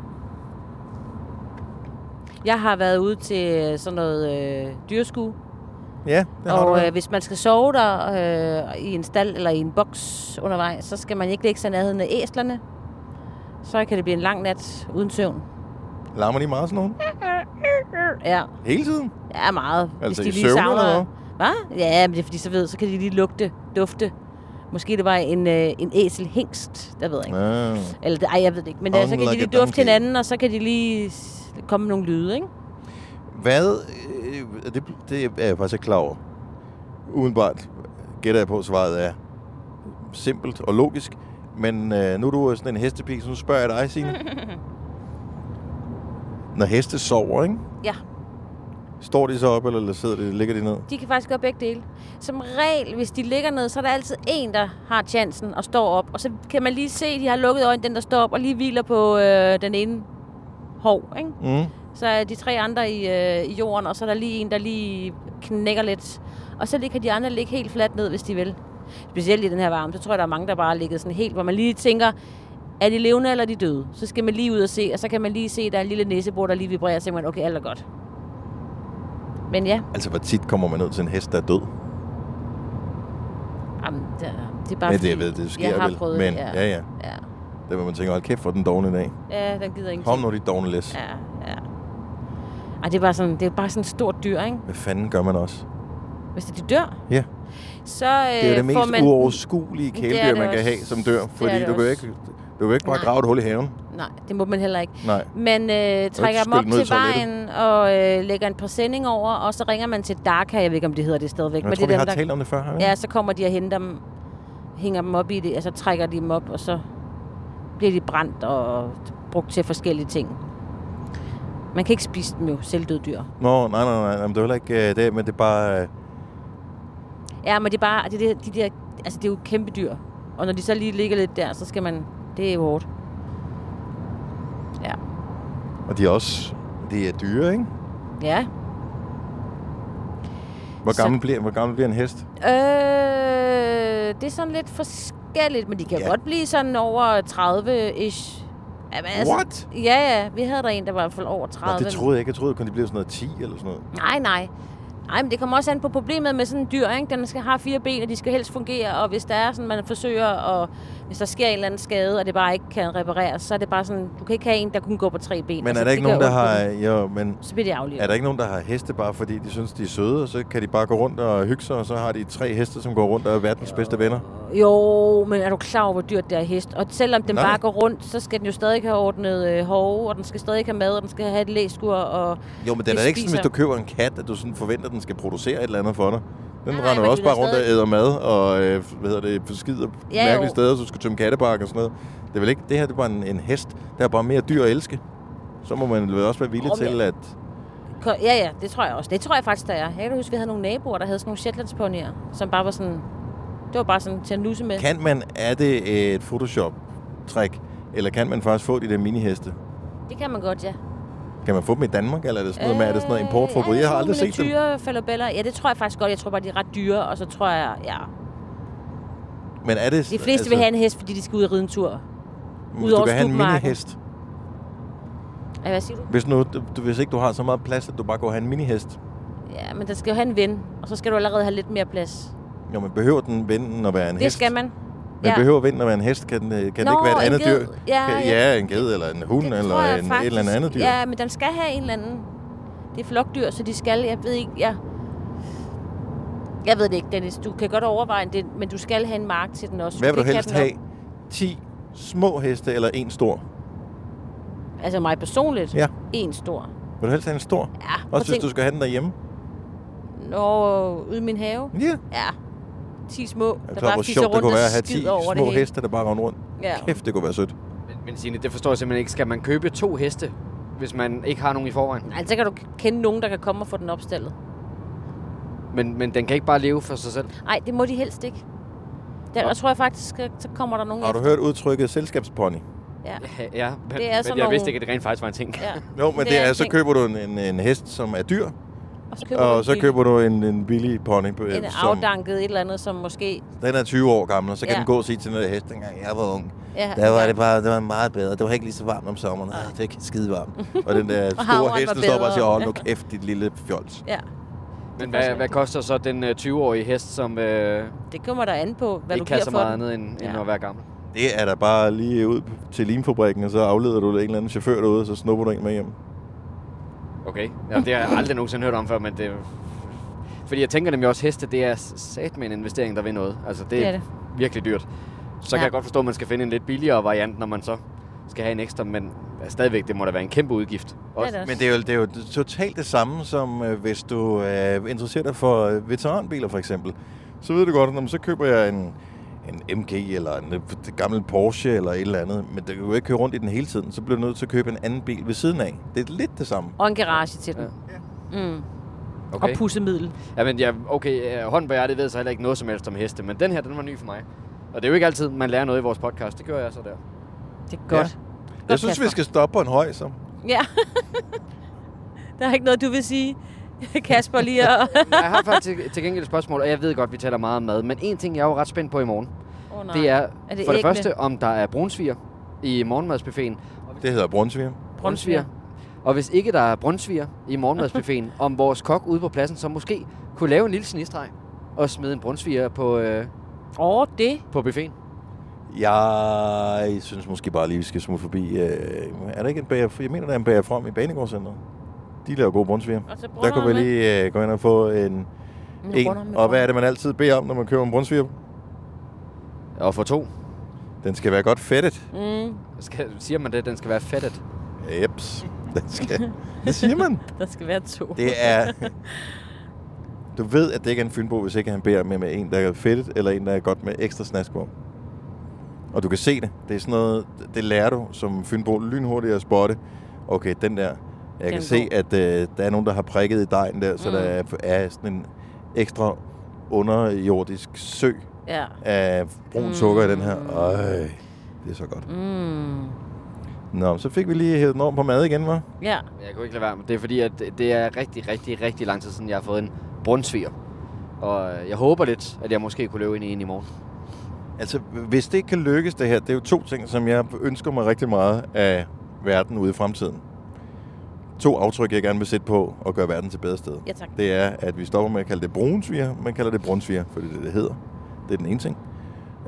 S2: Jeg har været ude til sådan noget øh, dyrskue.
S1: Ja, det har du.
S2: Og
S1: vel.
S2: øh, hvis man skal sove der øh, i en stald eller i en boks undervejs, så skal man ikke lægge sig i nærheden af æslerne. Så kan det blive en lang nat uden søvn.
S1: Larmer de meget sådan nogen?
S2: Ja,
S1: Hele tiden?
S2: ja meget.
S1: Altså i søvne eller hvad?
S2: Hvad? Ja, men det er fordi, så ved, så kan de lige lugte, dufte. Måske det var en, øh, en æselhingst, der ved jeg ikke.
S1: Ja.
S2: Eller, det- ej, jeg ved det ikke. Men øh, så kan
S1: Unlike
S2: de lige
S1: a
S2: dufte
S1: donkey.
S2: hinanden, og så kan de lige s- komme med nogle lyde, ikke?
S1: Hvad? øh, Det, det er jeg faktisk ikke klar over. Udenbart gætter jeg på, at svaret er simpelt og logisk. Men øh, nu er du jo sådan en hestepige, så nu spørger jeg dig, Signe. Når heste sover, ikke?
S2: Ja.
S1: Står de så op, eller sidder de, ligger de ned?
S2: De kan faktisk gøre begge dele. Som regel, hvis de ligger ned, så er der altid en, der har chancen og står op. Og så kan man lige se, at de har lukket øjnene, den der står op, og lige hviler på øh, den ene hov. Ikke?
S1: Mm.
S2: Så er de tre andre i, øh, i jorden, og så er der lige en, der lige knækker lidt. Og så lige kan de andre ligge helt fladt ned, hvis de vil. Specielt i den her varme, så tror jeg, der er mange, der bare ligger sådan helt, hvor man lige tænker, er de levende eller er de døde? Så skal man lige ud og se, og så kan man lige se, at der er en lille næsebord, der lige vibrerer, og så tænker man, okay, alt er godt. Men ja,
S1: Altså, hvor tit kommer man ud til en hest, der er død?
S2: Jamen, det, er- det er bare
S1: Men det,
S2: fordi,
S1: jeg ved, det sker
S2: jeg har
S1: vel.
S2: Prøvet,
S1: men,
S2: det, ja.
S1: ja, ja.
S2: ja.
S1: Det vil man tænke, hold kæft, hvor er den dogne i dag.
S2: Ja, den gider ikke.
S1: Kom nu, de dogne læs. Ja.
S2: Ja, ja. Ej, det er bare sådan, det er bare sådan et stort dyr, ikke?
S1: Hvad fanden gør man
S2: Øh,
S1: også?
S2: Hvis de dør,
S1: Ja,
S2: så øh,
S1: det er jo det
S2: får
S1: mest
S2: man...
S1: uoverskuelige
S2: Det er
S1: kæledyr,
S2: det
S1: man kan
S2: også.
S1: have, som dør.
S2: Det er
S1: Fordi
S2: det
S1: du kan, jo
S2: også.
S1: ikke, du kan jo ikke bare
S2: Nej.
S1: grave et hul i haven.
S2: Nej, det må man heller ikke.
S1: Nej.
S2: Man øh, trækker dem
S1: skylle
S2: op
S1: dem ud i
S2: til vejen og øh, lægger en præsending over, og så ringer man til Darka, jeg ved ikke, om det hedder det stadigvæk.
S1: Men jeg
S2: det er
S1: tror, vi
S2: dem,
S1: har talt om det før. Har vi?
S2: Ja, så kommer de og henter dem, hænger dem op i det, og så trækker de dem op, og så bliver de brændt og brugt til forskellige ting. Man kan ikke spise dem jo, selvdøde dyr.
S1: Nå, nej, nej, nej. Jamen, det er heller ikke øh, det, men det er bare... øh,
S2: Ja, men det er bare, det er det, de der, altså det er jo kæmpe dyr. Og når de så lige ligger lidt der, så skal man, det er jo hårdt. Ja.
S1: Og de er også... De er dyre, ikke?
S2: Ja.
S1: Hvor
S2: Så-
S1: gammel, bliver, hvor gammel bliver en hest?
S2: Øh, det er sådan lidt forskelligt, men de kan
S1: Ja.
S2: ja. godt blive sådan over 30-ish. Jamen, altså-
S1: What?
S2: Ja, ja. Vi havde der en, der var i hvert fald over
S1: Nå,
S2: 30.
S1: det troede jeg ikke. Jeg troede kun, de blev sådan noget 10 eller sådan noget.
S2: Nej, nej. Nej, men det kommer også an på problemet med sådan en dyr, ikke? Den skal have fire ben, og de skal helst fungere, og hvis der er sådan, man forsøger, og hvis der sker en eller anden skade, og det bare ikke kan repareres, så er det bare sådan, du kan ikke have en, der kun går på tre ben. Altså,
S1: Men er der ikke nogen, der har... Jo, men
S2: Så bliver det aflivet.
S1: er der ikke nogen, der har heste, bare fordi de synes, de er søde, og så kan de bare gå rundt og hygge sig, og så har de tre heste, som går rundt og er verdens bedste venner?
S2: Jo, men er du klar over, hvor dyrt det er hest? Og selvom den
S1: Nej.
S2: Nej. bare går rundt, så skal den jo stadig have ordnet øh, hove, og den skal stadig have mad, og den skal have et læskur, og...
S1: Jo, men det er
S2: Det
S1: da ikke sådan, hvis
S2: spiser-
S1: du køber en kat, at du sådan forventer, at den skal producere et eller andet for dig. Den
S2: Nej,
S1: Nej, render
S2: men
S1: også
S2: du er
S1: bare rundt og
S2: stadig-
S1: æder mad, og øh, hvad hedder det, skider ja,
S2: Ja,
S1: mærkelige
S2: jo.
S1: steder, så du skal tømme kattebakke og sådan noget. Det er vel ikke, det her det er bare en, en hest, der er bare mere dyr at elske. så må man vel også være villig
S2: Om jeg-
S1: til, at...
S2: Ko- Ja, ja, det tror jeg også. Det tror jeg faktisk, der er. Jeg kan huske, vi havde nogle naboer, der havde sådan nogle Shetlandsponier, som bare var sådan... Det var bare sådan til at nusse med.
S1: Kan man, er det et Photoshop-trick, eller kan man faktisk få de der miniheste?
S2: Det kan man godt, ja.
S1: Kan man få dem i Danmark, eller er det sådan noget, med, er det sådan noget importforbud?
S2: Øh,
S1: Jeg har aldrig set dem.
S2: Dyre falabeller. Ja, det tror jeg faktisk godt. Jeg tror bare, de er ret dyre, og så tror jeg, ja.
S1: Men er det,
S2: De fleste altså, vil have en hest, fordi de skal ud og ride en tur.
S1: hvis
S2: ud
S1: du
S2: over
S1: kan have en
S2: slutmarken.
S1: minihest,
S2: Ja, hvad siger du?
S1: hvis, nu, du, hvis ikke du har så meget plads, at du bare går og have en minihest,
S2: Ja, men den skal jo have en ven, og så skal du allerede have lidt mere plads.
S1: jo, man behøver den vinden at være en
S2: det
S1: hest.
S2: skal man.
S1: Men behøver vinden at være en hest? Kan, den, øh, kan
S2: Nå,
S1: det ikke være et
S2: en
S1: andet
S2: ged.
S1: dyr?
S2: Ja,
S1: Kan-
S2: ja.
S1: ja, en ged eller en hund
S2: Det tror
S1: eller
S2: jeg
S1: en, et
S2: faktisk.
S1: eller andet dyr.
S2: Ja, men den skal have en eller anden... Det er flokdyr, så de skal... Jeg ved ikke, jeg... Jeg ved det ikke, Dennis. Du kan godt overveje det, men du skal have en mark til den også.
S1: Hvad
S2: Du
S1: vil du
S2: kan ikke
S1: helst
S2: den
S1: have?
S2: op-
S1: 10 små heste eller en stor?
S2: Altså mig personligt?
S1: Ja.
S2: En stor.
S1: Vil du helst have en stor?
S2: Ja, prøv at
S1: Også hvis
S2: tænk-
S1: du skal have den derhjemme?
S2: Nå, ude i min have?
S1: Ja. Jeg
S2: Ja. 10 små,
S1: er
S2: der
S1: klar,
S2: bare
S1: Mm. hvor
S2: fiser
S1: sjovt det
S2: rundt
S1: kunne
S2: og
S1: være at have 10
S2: skider over
S1: små
S2: det hele.
S1: heste, der bare render rundt.
S2: Ja.
S1: Kæft, det kunne være sødt.
S3: Men, men Signe, det forstår jeg simpelthen ikke. Skal man købe to heste, hvis man ikke har nogen i forvejen?
S2: Altså, så kan du kende nogen, der kan komme og få den opstillet.
S3: Men, men den kan ikke bare leve for sig selv.
S2: Nej, det må de helst ikke. Der, jeg tror jeg faktisk, at så kommer der nogen
S1: Har du
S2: efter.
S1: hørt udtrykket selskabspony?
S2: Ja.
S3: Ja,
S2: Det er
S3: men, men
S2: sådan
S3: jeg vidste
S2: nogle-
S3: ikke, at det rent faktisk var en ting.
S2: ja.
S1: Jo, men det, det er, så
S2: en ting.
S1: køber du en, en, en hest, som er dyr,
S2: Og så køber, du en
S1: og så
S2: bil.
S1: køber du en, en billig pony, øh,
S2: en
S1: som
S2: afdanket et eller andet, som måske...
S1: den er 20 år gammel, og så kan
S2: Ja.
S1: den gå og sige til den der hest, dengang jeg var ung.
S2: Ja,
S1: Der var
S2: ja.
S1: det bare det var meget bedre. Det var ikke lige så varmt om sommeren. Ah, det var ikke skide varmt. Og den der
S2: havren
S1: store
S2: var
S1: hest, der står bare og siger, åh,
S2: bedre.
S1: nu kæft, dit lille fjols.
S2: Ja,
S3: Men hvad, hvad koster så den øh, 20-årige hest, som øh,
S2: det kommer der an på, hvad
S3: ikke
S2: du
S3: kan
S2: giver for
S3: så meget
S2: den.
S3: andet end, end
S2: Ja.
S3: at være gammel?
S1: Det er da bare lige ud til limfabrikken, og så afleder du en eller anden chauffør derude, og så snupper du en med hjem.
S3: Okay. Ja, det har jeg aldrig nogensinde hørt om før, men det... Fordi jeg tænker nemlig også, heste, det er sat med en investering, der vil noget. Altså, det,
S2: Det
S3: er
S2: er
S3: det. virkelig dyrt. Så ja.
S2: Ja.
S3: kan jeg godt forstå, at man skal finde en lidt billigere variant, når man så skal have en ekstra, men ja, stadigvæk, det må da være en kæmpe udgift. Også.
S2: det også.
S1: Men det er jo, det er jo totalt det samme, som øh, hvis du øh, interesserer dig for øh, veteranbiler, for eksempel. Så ved du godt, når så køber jeg en, en MG eller en øh, gammel Porsche eller et eller andet, men du kan jo ikke køre rundt i den hele tiden, så bliver du nødt til at købe en anden bil ved siden af. Det er lidt det samme.
S2: Og en garage til den.
S3: Ja.
S2: Mm. Okay.
S3: Okay.
S2: Og pussemiddel.
S3: Ja, men ja, okay, øh, hånden på hjertet ved så heller ikke noget som helst om heste, men den her, den var ny for mig. Og det er jo ikke altid, man lærer noget i vores podcast. Det gør jeg så der.
S2: Det er godt.
S1: Jeg synes, vi
S2: Kasper.
S1: skal stoppe på en høj, så.
S2: Ja. der er ikke noget, du vil sige, Kasper, lige at...
S3: Jeg har faktisk til- til gengæld et spørgsmål, og jeg ved godt, vi taler meget om mad, men en ting, jeg er jo ret spændt på i morgen,
S2: oh,
S3: det er,
S2: Er det
S3: for det
S2: æggene?
S3: første, om der er brunsviger i morgenmadsbuffeten.
S1: Det hedder Brunsviger.
S2: Brunsviger.
S3: Og hvis ikke der er brunsviger i morgenmadsbuffeten, om vores kok ude på pladsen, så måske kunne lave en lille snistreg og smide en brunsviger på, øh,
S2: Åh, oh, det.
S3: på buffeten.
S1: Jeg synes måske bare lige, vi skal smutte forbi. Øh, er der ikke en bager? Jeg mener, der er en bager frem i Banegårdscenteret. De laver gode brunsviger.
S2: Og så
S1: Der kunne vi lige øh, gå ind og få en... en. Og hvad er det, man altid beder om, når man køber en brunsviger?
S3: Og for to.
S1: Den skal være godt fedtet.
S2: Mm,
S3: Skal, siger man det, den skal være fedtet.
S1: Jeps. Den skal. Det siger man.
S2: der skal være to.
S1: Det er... Du ved, at det ikke er en fynbo, hvis ikke han beder med, med en, der er fedtet, eller en, der er godt med ekstra snask på. Og du kan se det. Det er sådan noget, det lærer du som fynbo lynhurtigt at spotte. Okay, den der. Jeg
S2: er
S1: kan se,
S2: god.
S1: at øh, der er nogen, der har prikket i dejen der, så
S2: Mm.
S1: mm. der er, er sådan en ekstra underjordisk sø
S2: Ja.
S1: af brun sukker i den her. Øj, det er så godt.
S2: Mm.
S1: Nå, så fik vi lige hævet den over på mad igen, var?
S2: Ja.
S3: Jeg kunne ikke lade være med det, er fordi, at det er rigtig, rigtig, rigtig lang tid siden, jeg har fået en brunsviger. Og øh, jeg håber lidt, at jeg måske kunne løbe ind i en i morgen.
S1: Altså, hvis det ikke kan lykkes det her, det er jo to ting, som jeg ønsker mig rigtig meget af verden ude i fremtiden. To aftryk, jeg gerne vil sætte på og gøre verden til et bedre sted.
S2: Ja, tak.
S1: Det er, at vi stopper med at kalde det brunsviger, man kalder det brunsviger, for det er det, det hedder. Det er den ene ting.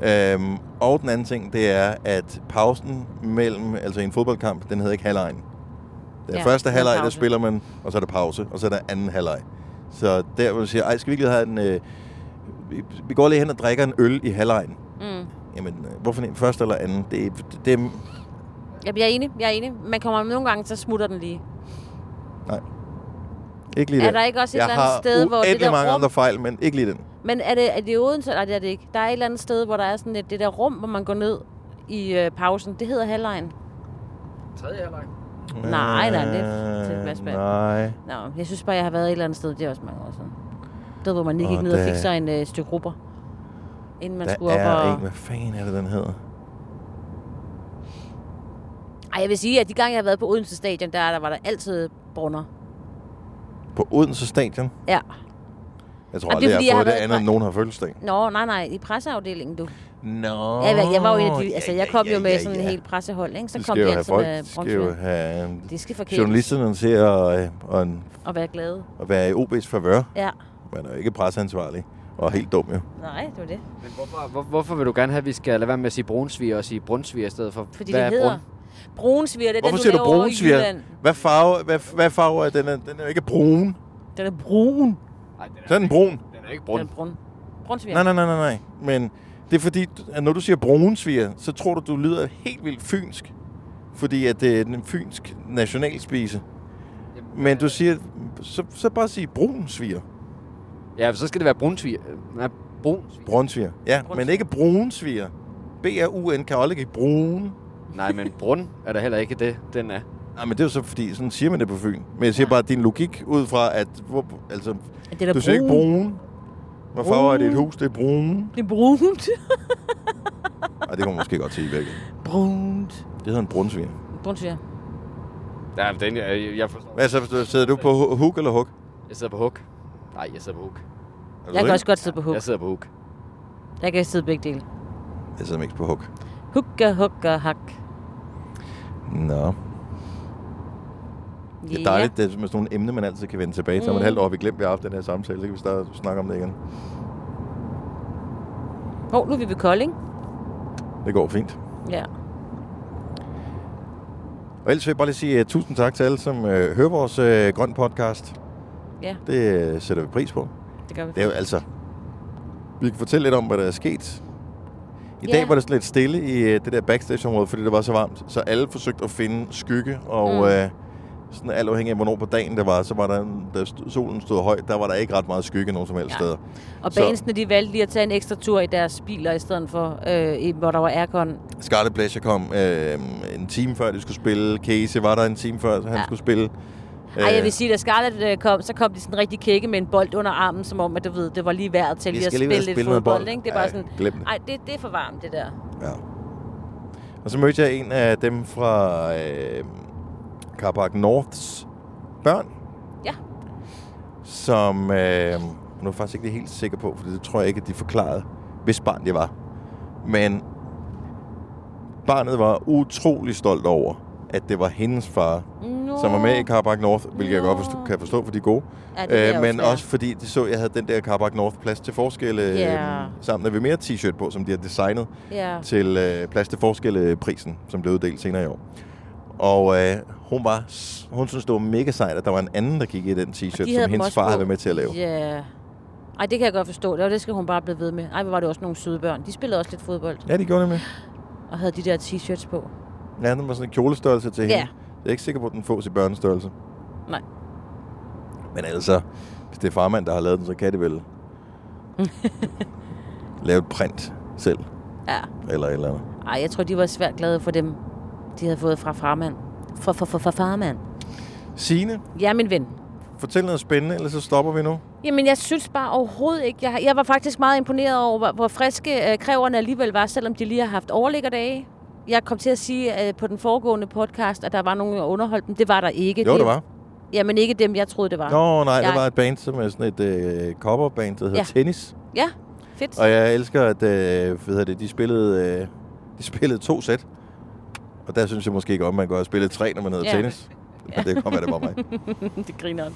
S1: Øhm, og den anden ting, det er, at pausen mellem, altså i en fodboldkamp, den hedder ikke halvlejen. Den
S2: Ja,
S1: ja, første
S2: det er
S1: halvleg, der
S2: pause.
S1: spiller man, og så er der pause, og så er der anden halvleg. Så der, hvor du siger, ej, skal vi ikke lige have en... Øh, vi- vi går lige hen og drikker en øl i halvlejen.
S2: Mm.
S1: Jamen, øh, hvorfor en første eller anden? Det, det, det
S2: Jamen, jeg er enig, jeg er enig. Man kommer nogle gange, så smutter den lige.
S1: ikke lige
S2: Er
S1: den.
S2: der ikke også et
S1: jeg
S2: eller andet sted, hvor det
S1: uendelig
S2: der
S1: mange
S2: rum-
S1: andre fejl, men ikke lige den.
S2: Men er det, er det i Odense? Nej, det er det ikke. Der er et eller andet sted, hvor der er sådan et, det der rum, hvor man går ned i øh, pausen. Det hedder halvlejen.
S3: Tredje halvleg.
S2: Nej, nej, det er til flashback.
S1: Øh, Nej.
S2: Nå, jeg synes bare, jeg har været et eller andet sted. Det er også mange år siden. Der hvor man lige
S1: Åh,
S2: gik ned og
S1: der-
S2: fik sig en øh, stykke rubber. Inden man
S1: Der
S2: skulle op
S1: er
S2: og...
S1: en, hvad fanden er det, den hedder?
S2: Ej, jeg vil sige, at de gange, jeg har været på Odense Stadion, der, der var der altid brunner.
S1: På Odense Stadion.
S2: Ja.
S1: Jeg tror
S2: Jamen,
S1: aldrig,
S2: det er
S1: jeg
S2: fordi, jeg
S1: har
S2: har
S1: fået det
S2: været-
S1: andet, end nogen har fødselsdag.
S2: Nå, nej, nej, i presseafdelingen, du.
S1: Nå.
S2: Jeg, var- jeg var jo en af de, altså, jeg kom jo med sådan en hel pressehold, ikke? Så
S1: de skal
S2: kom de
S1: jo have
S2: altid
S1: folk, de skal
S2: med
S1: jo
S2: brunfløde.
S1: have
S2: De skal forkæles
S1: journalisterne til at, øh, og en,
S2: og være glade.
S1: at være i OB's favør.
S2: Ja,
S1: Man er jo ikke presseansvarlig, og helt dum jo.
S2: nej, det var det.
S3: Men hvorfor, hvor, hvorfor vil du gerne have, at vi skal lade være med at sige brunsviger og sige brunsviger i stedet for?
S2: Fordi
S3: hvad
S2: det
S3: er
S2: hedder...
S3: brun-
S2: Brunsviger, det er
S1: Hvorfor
S2: den,
S1: siger
S2: du
S1: du
S2: laver over i
S1: brunsviger?
S2: Jylland.
S1: Hvad farve, hvad, hvad farve er den? Er- Den er jo ikke brun.
S2: Den er brun.
S3: Ej, den,
S1: Så er den brun.
S3: den er ikke
S2: Den
S3: brun.
S2: er brun. Brunsviger.
S1: Nej, nej, nej, nej, nej. Men det er fordi, at når du siger brunsviger, så tror du, du lyder helt vildt fynsk. Fordi at det er en fynsk nationalspise. Men
S2: øh,
S1: du siger, så, så bare sige brunsviger.
S3: Ja, så skal det være brunsviger. Øh, Nej, brunsviger.
S1: Brunsviger. Ja, brunsviger. men ikke brunsviger. B-R-U-N kan aldrig ikke brun.
S3: Nej, men brun er der heller ikke det, den er.
S1: Nej, men det er jo så fordi, sådan siger man det på Fyn. Men jeg siger bare, at din logik ud fra, at hvor, altså,
S2: Det er da
S1: du siger ikke
S2: brun.
S1: brun. Hvor farve er det et hus? Det er brun.
S2: Det er brunt.
S1: Ej, det kunne man måske godt sige i virkeligheden.
S2: Brunt.
S1: Det hedder en brunsviger.
S2: Brunsviger.
S3: Ja, den, jeg, jeg forstår.
S1: Hvad så, Altså, hvis du- sidder du på hu- huk eller hug?
S3: Jeg sidder på hook. Nej, jeg sidder på hook.
S2: Jeg kan også godt sidde på huk.
S3: Jeg sidder på hook.
S2: Jeg kan sidde begge dele.
S1: Jeg sidder mest på hug.
S2: Hukka, hukka, hak.
S1: Nå. Det er dejligt, det er med sådan nogle emne, man altid kan vende tilbage
S2: Mm.
S1: til. Om et halvt år har vi glemt, at vi har haft den her samtale. Så kan vi starte snakke om det igen.
S2: Hov, nu er vi ved Kolding.
S1: Det går fint.
S2: Ja.
S1: Og ellers vil jeg bare lige sige uh, tusind tak til alle, som uh, hører vores uh, grøn podcast.
S2: Ja.
S1: Det uh, sætter vi pris på.
S2: Det gør vi.
S1: Det er jo altså... Vi kan fortælle lidt om, hvad der er sket. I
S2: Ja.
S1: dag var det sådan lidt stille i øh, det der backstage-område, fordi det var så varmt. Så alle forsøgte at finde skygge, og
S2: Mm.
S1: øh, sådan alt afhængig af, hvornår på dagen det var, så var der, da st- solen stod højt, der var der ikke ret meget skygge nogen som helst
S2: Nej.
S1: steder.
S2: Og
S1: Så-
S2: banesene, de valgte lige at tage en ekstra tur i deres biler, i stedet for, øh, i- hvor der var aircon.
S1: Scarlet Pleasure kom øh, en time før, de skulle spille. Casey var der en time før, han ja. skulle spille.
S2: Ej,
S1: Øh.
S2: jeg vil sige, da Scarlett øh, kom, så kom de sådan rigtig kække med en bold under armen, som om, at du ved, det var lige værd til
S1: Vi
S2: lige at
S1: skal lige ud
S2: spille
S1: og
S2: lidt
S1: spille noget
S2: fodbold,
S1: bold.
S2: ikke? Det er bare
S1: Ej,
S2: sådan,
S1: glem det.
S2: Ej, det, det er for varmt, det der.
S1: Ja. Og så mødte jeg en af dem fra øh, Carpark Norths børn.
S2: Ja.
S1: Som, øh, nu er jeg faktisk ikke lige helt sikker på, for det tror jeg ikke, at de forklarede, hvis barn det var. Men barnet var utrolig stolt over, at det var hendes far,
S2: Nå.
S1: som var med i Carpark North, hvilket jeg
S2: Nå.
S1: godt forstå, kan forstå, for de er gode.
S2: Ja, det vil jeg
S1: Øh, men
S2: også være.
S1: også fordi de så, at jeg havde den der Carpark North plads til forskelle
S2: Ja.
S1: øh, sammen med mere t-shirt på, som de har designet
S2: Ja.
S1: til øh, plads til forskelle prisen, som blev uddelt senere i år. Og øh, hun, var, s- hun synes, det var mega sejt, at der var en anden, der gik i den t-shirt, som
S2: dem
S1: hendes
S2: også
S1: far
S2: på.
S1: havde været med til at lave.
S2: Ja. Ej, det kan jeg godt forstå. Det, var, det skal hun bare blive ved med. Ej, hvor var det også nogle søde børn. De spillede også lidt fodbold
S1: Ja, de gjorde nemlig.
S2: og havde de der t-shirts på.
S1: Ja, den var sådan en kjolestørrelse til
S2: Ja.
S1: hende. Jeg er ikke sikker på, at den fås i børnestørrelse.
S2: Nej.
S1: Men altså, hvis det er farmand, der har lavet den, så kan det vel lave et print selv,
S2: Ja.
S1: eller et eller andet.
S2: Ej, jeg tror, de var svært glade for dem, de havde fået fra farmand. Fra, fra, fra, fra farmand.
S1: Signe,
S2: Ja, min ven.
S1: fortæl noget spændende, eller så stopper vi nu.
S2: Jamen, jeg synes bare overhovedet ikke. Jeg, jeg var faktisk meget imponeret over, hvor, hvor friske øh, kræverne alligevel var, selvom de lige har haft overliggerdage. Jeg kom til at sige øh, på den foregående podcast, at der var nogen, der underholdt dem. Det var der ikke.
S1: Jo, det var.
S2: Jamen, ikke dem, jeg troede, det var.
S1: Nå, nej, der
S2: Jeg-
S1: var et band, som er sådan et øh, coverband, der hedder
S2: Ja.
S1: ja. Tennis.
S2: Ja, fedt.
S1: Og jeg elsker, at øh, hvad hedder det, de, spillede, øh, de spillede to sæt. Og der synes jeg måske ikke om, man går og spille tre, når man hedder
S2: Ja.
S1: ja. tennis. Men det kommer det var mig.
S2: det griner han.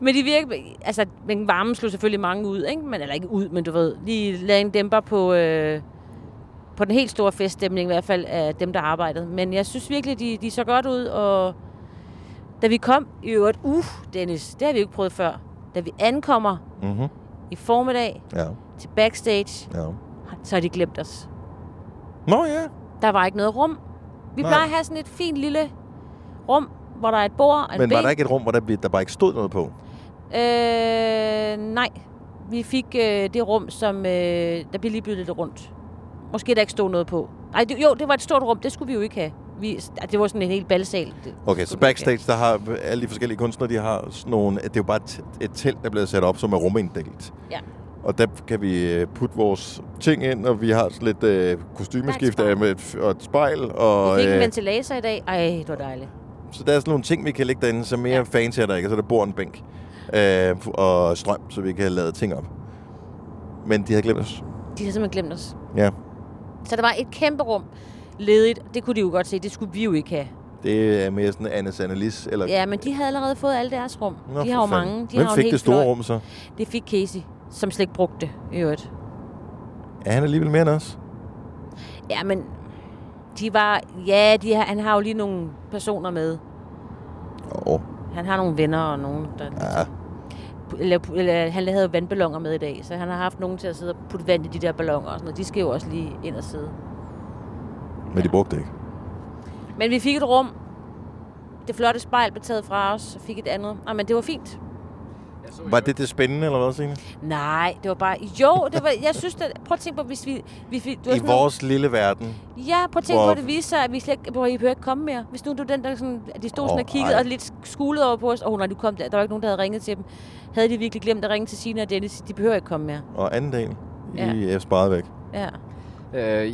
S2: Men de virker, altså, men varmen slog selvfølgelig mange ud, ikke? Men, eller ikke ud, men du ved, lige lagde en dæmper på, øh, på den helt store feststemning, i hvert fald af dem, der arbejdede. Men jeg synes virkelig, de, de så godt ud, og da vi kom, i øvrigt, uh, Dennis, det har vi jo ikke prøvet før. Da vi ankommer
S1: Mm-hmm.
S2: i formiddag
S1: Ja,
S2: til backstage,
S1: ja.
S2: så har de glemt os.
S1: Nå ja,
S2: Der var ikke noget rum. Vi
S1: Nej.
S2: plejer at have sådan et fint lille rum, hvor der er et bord og
S1: men
S2: en
S1: var
S2: bænk.
S1: der ikke et rum, hvor der, blev- der bare ikke stod noget på?
S2: Øh, nej. Vi fik øh, det rum, som... Øh, der blev lige byttet lidt rundt. Måske der ikke stod noget på. Ej, det, jo, det var et stort rum. Det skulle vi jo ikke have. vi, ah, det var sådan en helt balsal. Det-
S1: Okay, så backstage, der har alle de forskellige kunstnere, de har sådan nogle... Det er jo bare et, et telt, der er blevet sat op, som er ruminddelt.
S2: Ja.
S1: Og der kan vi øh, putte vores ting ind, og vi har sådan lidt øh, kostymeskift
S2: Der er
S1: af
S2: et
S1: med et, f- og et spejl.
S2: Og,
S1: Og,
S2: vi fik en
S1: øh,
S2: ventilator i dag. Ej, det var dejligt.
S1: så der er sådan nogle ting, vi kan lægge derinde, som mere
S2: Ja.
S1: ja. fancy er der ikke. Og så er der bord og en bænk øh, og strøm, så vi kan lade ting op. Men de havde glemt os.
S2: De har simpelthen glemt os.
S1: Ja,
S2: Så der var et kæmpe rum ledigt. Det kunne de jo godt se. Det skulle vi jo ikke have.
S1: det er mere sådan Anne Sannelis. Eller...
S2: Ja, men de havde allerede fået alle deres rum.
S1: Nå,
S2: de
S1: for
S2: har jo
S1: fanden.
S2: mange. De
S1: Hvem
S2: har jo en
S1: fik
S2: hel
S1: det store
S2: fløj.
S1: rum så?
S2: Det fik Casey, som slet ikke brugte det, i øvrigt.
S1: Er han alligevel mere end os?
S2: Ja, men de var... Ja, de har, han har jo lige nogle personer med.
S1: Åh, oh,
S2: Han har nogle venner og nogen, der...
S1: ja.
S2: Eller, eller, han havde jo vandballoner med i dag, så han har haft nogen til at sidde og putte vand i de der balloner og sådan noget. De skal jo også lige ind og sidde.
S1: Men de brugte det ikke.
S2: Men vi fik et rum. Det flotte spejl blev taget fra os, og fik et andet. Nej, men det var fint.
S1: Var det det spændende, eller hvad, Signe?
S2: Nej, det var bare... Jo, det var, jeg synes, at, prøv at tænke på, hvis vi... vi, vi det var
S1: I
S2: sådan nogle-
S1: vores lille verden.
S2: Ja, prøv at tænke
S1: Hvor-
S2: på, at det viser sig, at vi slet ikke, hvor I behøver ikke komme mere. Hvis nu du er den, der sådan, at de stod oh, sådan og
S1: Åh,
S2: kiggede
S1: ej.
S2: og lidt skulede over på os. Åh oh, nej, du kom der. Der var ikke nogen, der havde ringet til dem. Havde de virkelig glemt at ringe til Sina og Dennis? De behøver ikke komme mere.
S1: Og anden del,
S2: Ja.
S1: ja. I er sparet væk.
S2: Ja.
S3: Øh,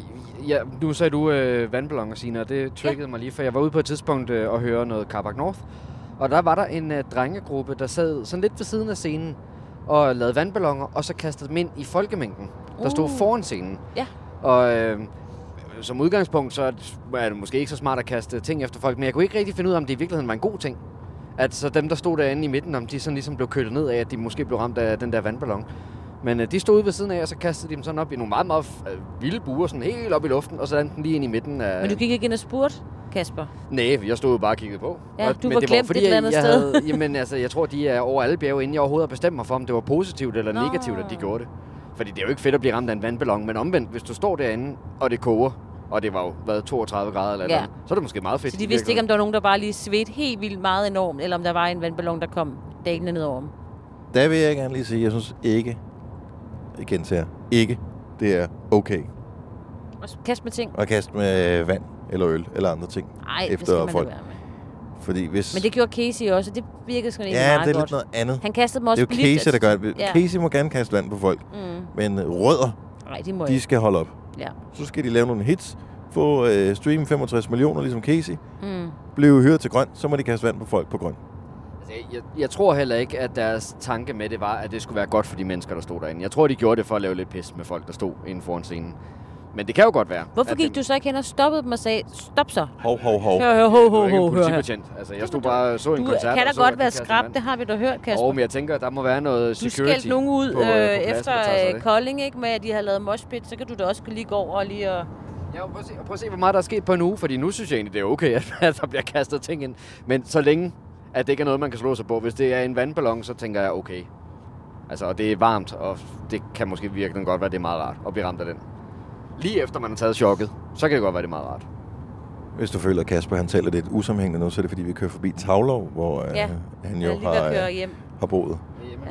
S3: ja, nu sagde du øh, vandballoner, Signe, og det triggede ja. mig lige, for jeg var ude på et tidspunkt øh, og høre noget Carbac North, og der var der en øh, drengegruppe, der sad sådan lidt ved siden af scenen og lavede vandballoner, og så kastede dem ind i folkemængden, der stod
S2: Uh.
S3: foran scenen.
S2: Ja.
S3: Og øh, som udgangspunkt, så er det måske ikke så smart at kaste ting efter folk, men jeg kunne ikke rigtig finde ud af, om det i virkeligheden var en god ting. At så dem, der stod derinde i midten, om de sådan ligesom blev kølet ned af, at de måske blev ramt af den der vandballon. Men øh, de stod ude ved siden af, og så kastede de dem sådan op i nogle meget, meget øh, vilde buer, sådan helt op i luften, og så landede den lige ind i midten af...
S2: Men du gik ikke ind og spurgte, Kasper.
S3: Nej, jeg stod jo bare og kiggede på.
S2: Ja,
S3: og,
S2: du
S3: men
S2: var
S3: det
S2: glemt
S3: jo fordi,
S2: et eller andet
S3: jeg,
S2: sted.
S3: Havde, jamen altså, jeg tror, de er over alle bjerge, inden jeg overhovedet har bestemt mig for, om det var positivt eller
S2: Nå.
S3: Nå. negativt, at de gjorde det. Fordi det er jo ikke fedt at blive ramt af en vandballon, men omvendt, hvis du står derinde, og det koger, og det var jo, hvad, 32 grader eller
S2: Ja.
S3: ja. noget, så er det måske meget fedt.
S2: Så de vidste ikke, om der var nogen, der bare lige svedte helt vildt meget enormt, eller om der var en vandballon, der kom dalende ned over dem.
S1: Der vil jeg gerne lige sige, jeg synes ikke, jeg gentager, ikke, det er okay
S2: Og kast med ting.
S1: at kaste med vand eller øl eller andre ting.
S2: Nej, det
S1: Efter
S2: skal man
S1: folk.
S2: folk. være med.
S1: Fordi hvis...
S2: Men det gjorde Casey også, og det virkede sådan egentlig
S1: ja,
S2: meget
S1: det er lidt
S2: godt.
S1: noget andet.
S2: Han kastede dem
S1: Det er
S2: også
S1: jo Casey, der gør det.
S2: blidt. Ja.
S1: Casey må gerne kaste vand på folk,
S2: Mm.
S1: men rødder,
S2: Nej, de må
S1: de
S2: ikke.
S1: skal holde op.
S2: Ja.
S1: Så skal de lave nogle hits, få øh, stream 65 millioner, ligesom Casey,
S2: Mm.
S1: blive hyret til grøn, så må de kaste vand på folk på grøn.
S3: Altså, Jeg, jeg tror heller ikke, at deres tanke med det var, at det skulle være godt for de mennesker, der stod derinde. Jeg tror, de gjorde det for at lave lidt pis med folk, der stod inden foran scenen. Men det kan jo godt være.
S2: Hvorfor
S3: at
S2: gik
S3: dem-
S2: du så ikke hen og stoppede dem og sagde, stop så?
S1: Hov, hov, hov.
S2: Hør, hør, ho,
S3: Jeg er
S2: ho,
S3: jo ikke
S2: ho,
S3: en
S2: hør, her.
S3: politibetjent. Altså, jeg stod bare og så en
S2: Du
S3: koncert.
S2: kan
S3: og
S2: da
S3: så, at
S2: godt
S3: de
S2: være
S3: kastede
S2: skrab,
S3: vand.
S2: det har vi da hørt, Kasper.
S3: Og men jeg tænker, der må være noget
S2: du
S3: security
S2: skældte nogen ud
S3: på, øh, på
S2: øh,
S3: pladsen,
S2: efter
S3: der tager sig af
S2: øh,
S3: det.
S2: Kolding, ikke? Med at de havde lavet moshpit, så kan du da også lige gå over og lige og...
S3: Ja, prøv at, se, prøv at se, hvor meget der er sket på en uge, fordi nu synes jeg egentlig, det er okay, at- at der bliver kastet ting ind. Men så længe, at det ikke er noget, man kan slå sig på. Hvis det er en vandballon, så tænker jeg, okay. Altså, og det er varmt, og det kan måske virkelig godt være, det er meget rart at blive ramt af den. Lige efter man har taget chokket, så kan det godt være, det er meget rart.
S1: Hvis du føler, at Kasper han taler lidt usammenhængende nu, så er det fordi, vi kører forbi Tavlov, hvor øh,
S2: Ja,
S1: ja. han
S2: Jeg er
S1: jo
S2: lige ved
S1: har,
S2: at køre
S1: øh,
S2: hjem.
S1: har boet.
S2: Ja.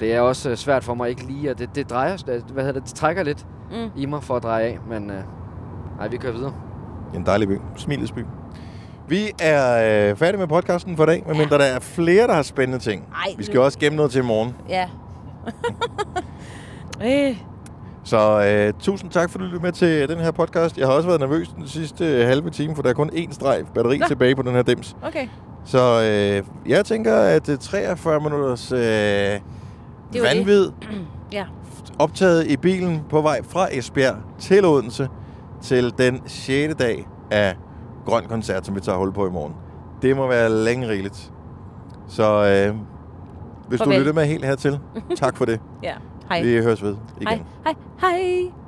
S3: Det er også øh, svært for mig ikke lige, og det, det drejer, hvad hedder det, det trækker lidt
S2: Mm.
S3: mm. i mig for at dreje af, men øh, nej, vi kører videre.
S1: En dejlig by. Smilets by. Vi er øh, færdige med podcasten for i dag, medmindre der er flere, der har spændende ting.
S2: Ej,
S1: vi skal
S2: nu-
S1: også gemme noget til i morgen.
S2: Ja. øh.
S1: Så øh, tusind tak, fordi du lyttede med til den her podcast. Jeg har også været nervøs den sidste øh, halve time, for der er kun én streg batteri
S2: Nå.
S1: tilbage på den her dims.
S2: Okay.
S1: Så øh, jeg tænker, at øh, 43 minutters øh,
S2: det.
S1: vanvid
S2: Ja.
S1: optaget i bilen på vej fra Esbjerg til Odense til den 6. dag af Grøn Koncert, som vi tager hul på i morgen. Det må være længe rigeligt. Så øh, hvis
S2: Farvel.
S1: du lytter med helt hertil, tak for det.
S2: Ja. Hej.
S1: Vi høres ved igen.
S2: Hej. Hej. Hej.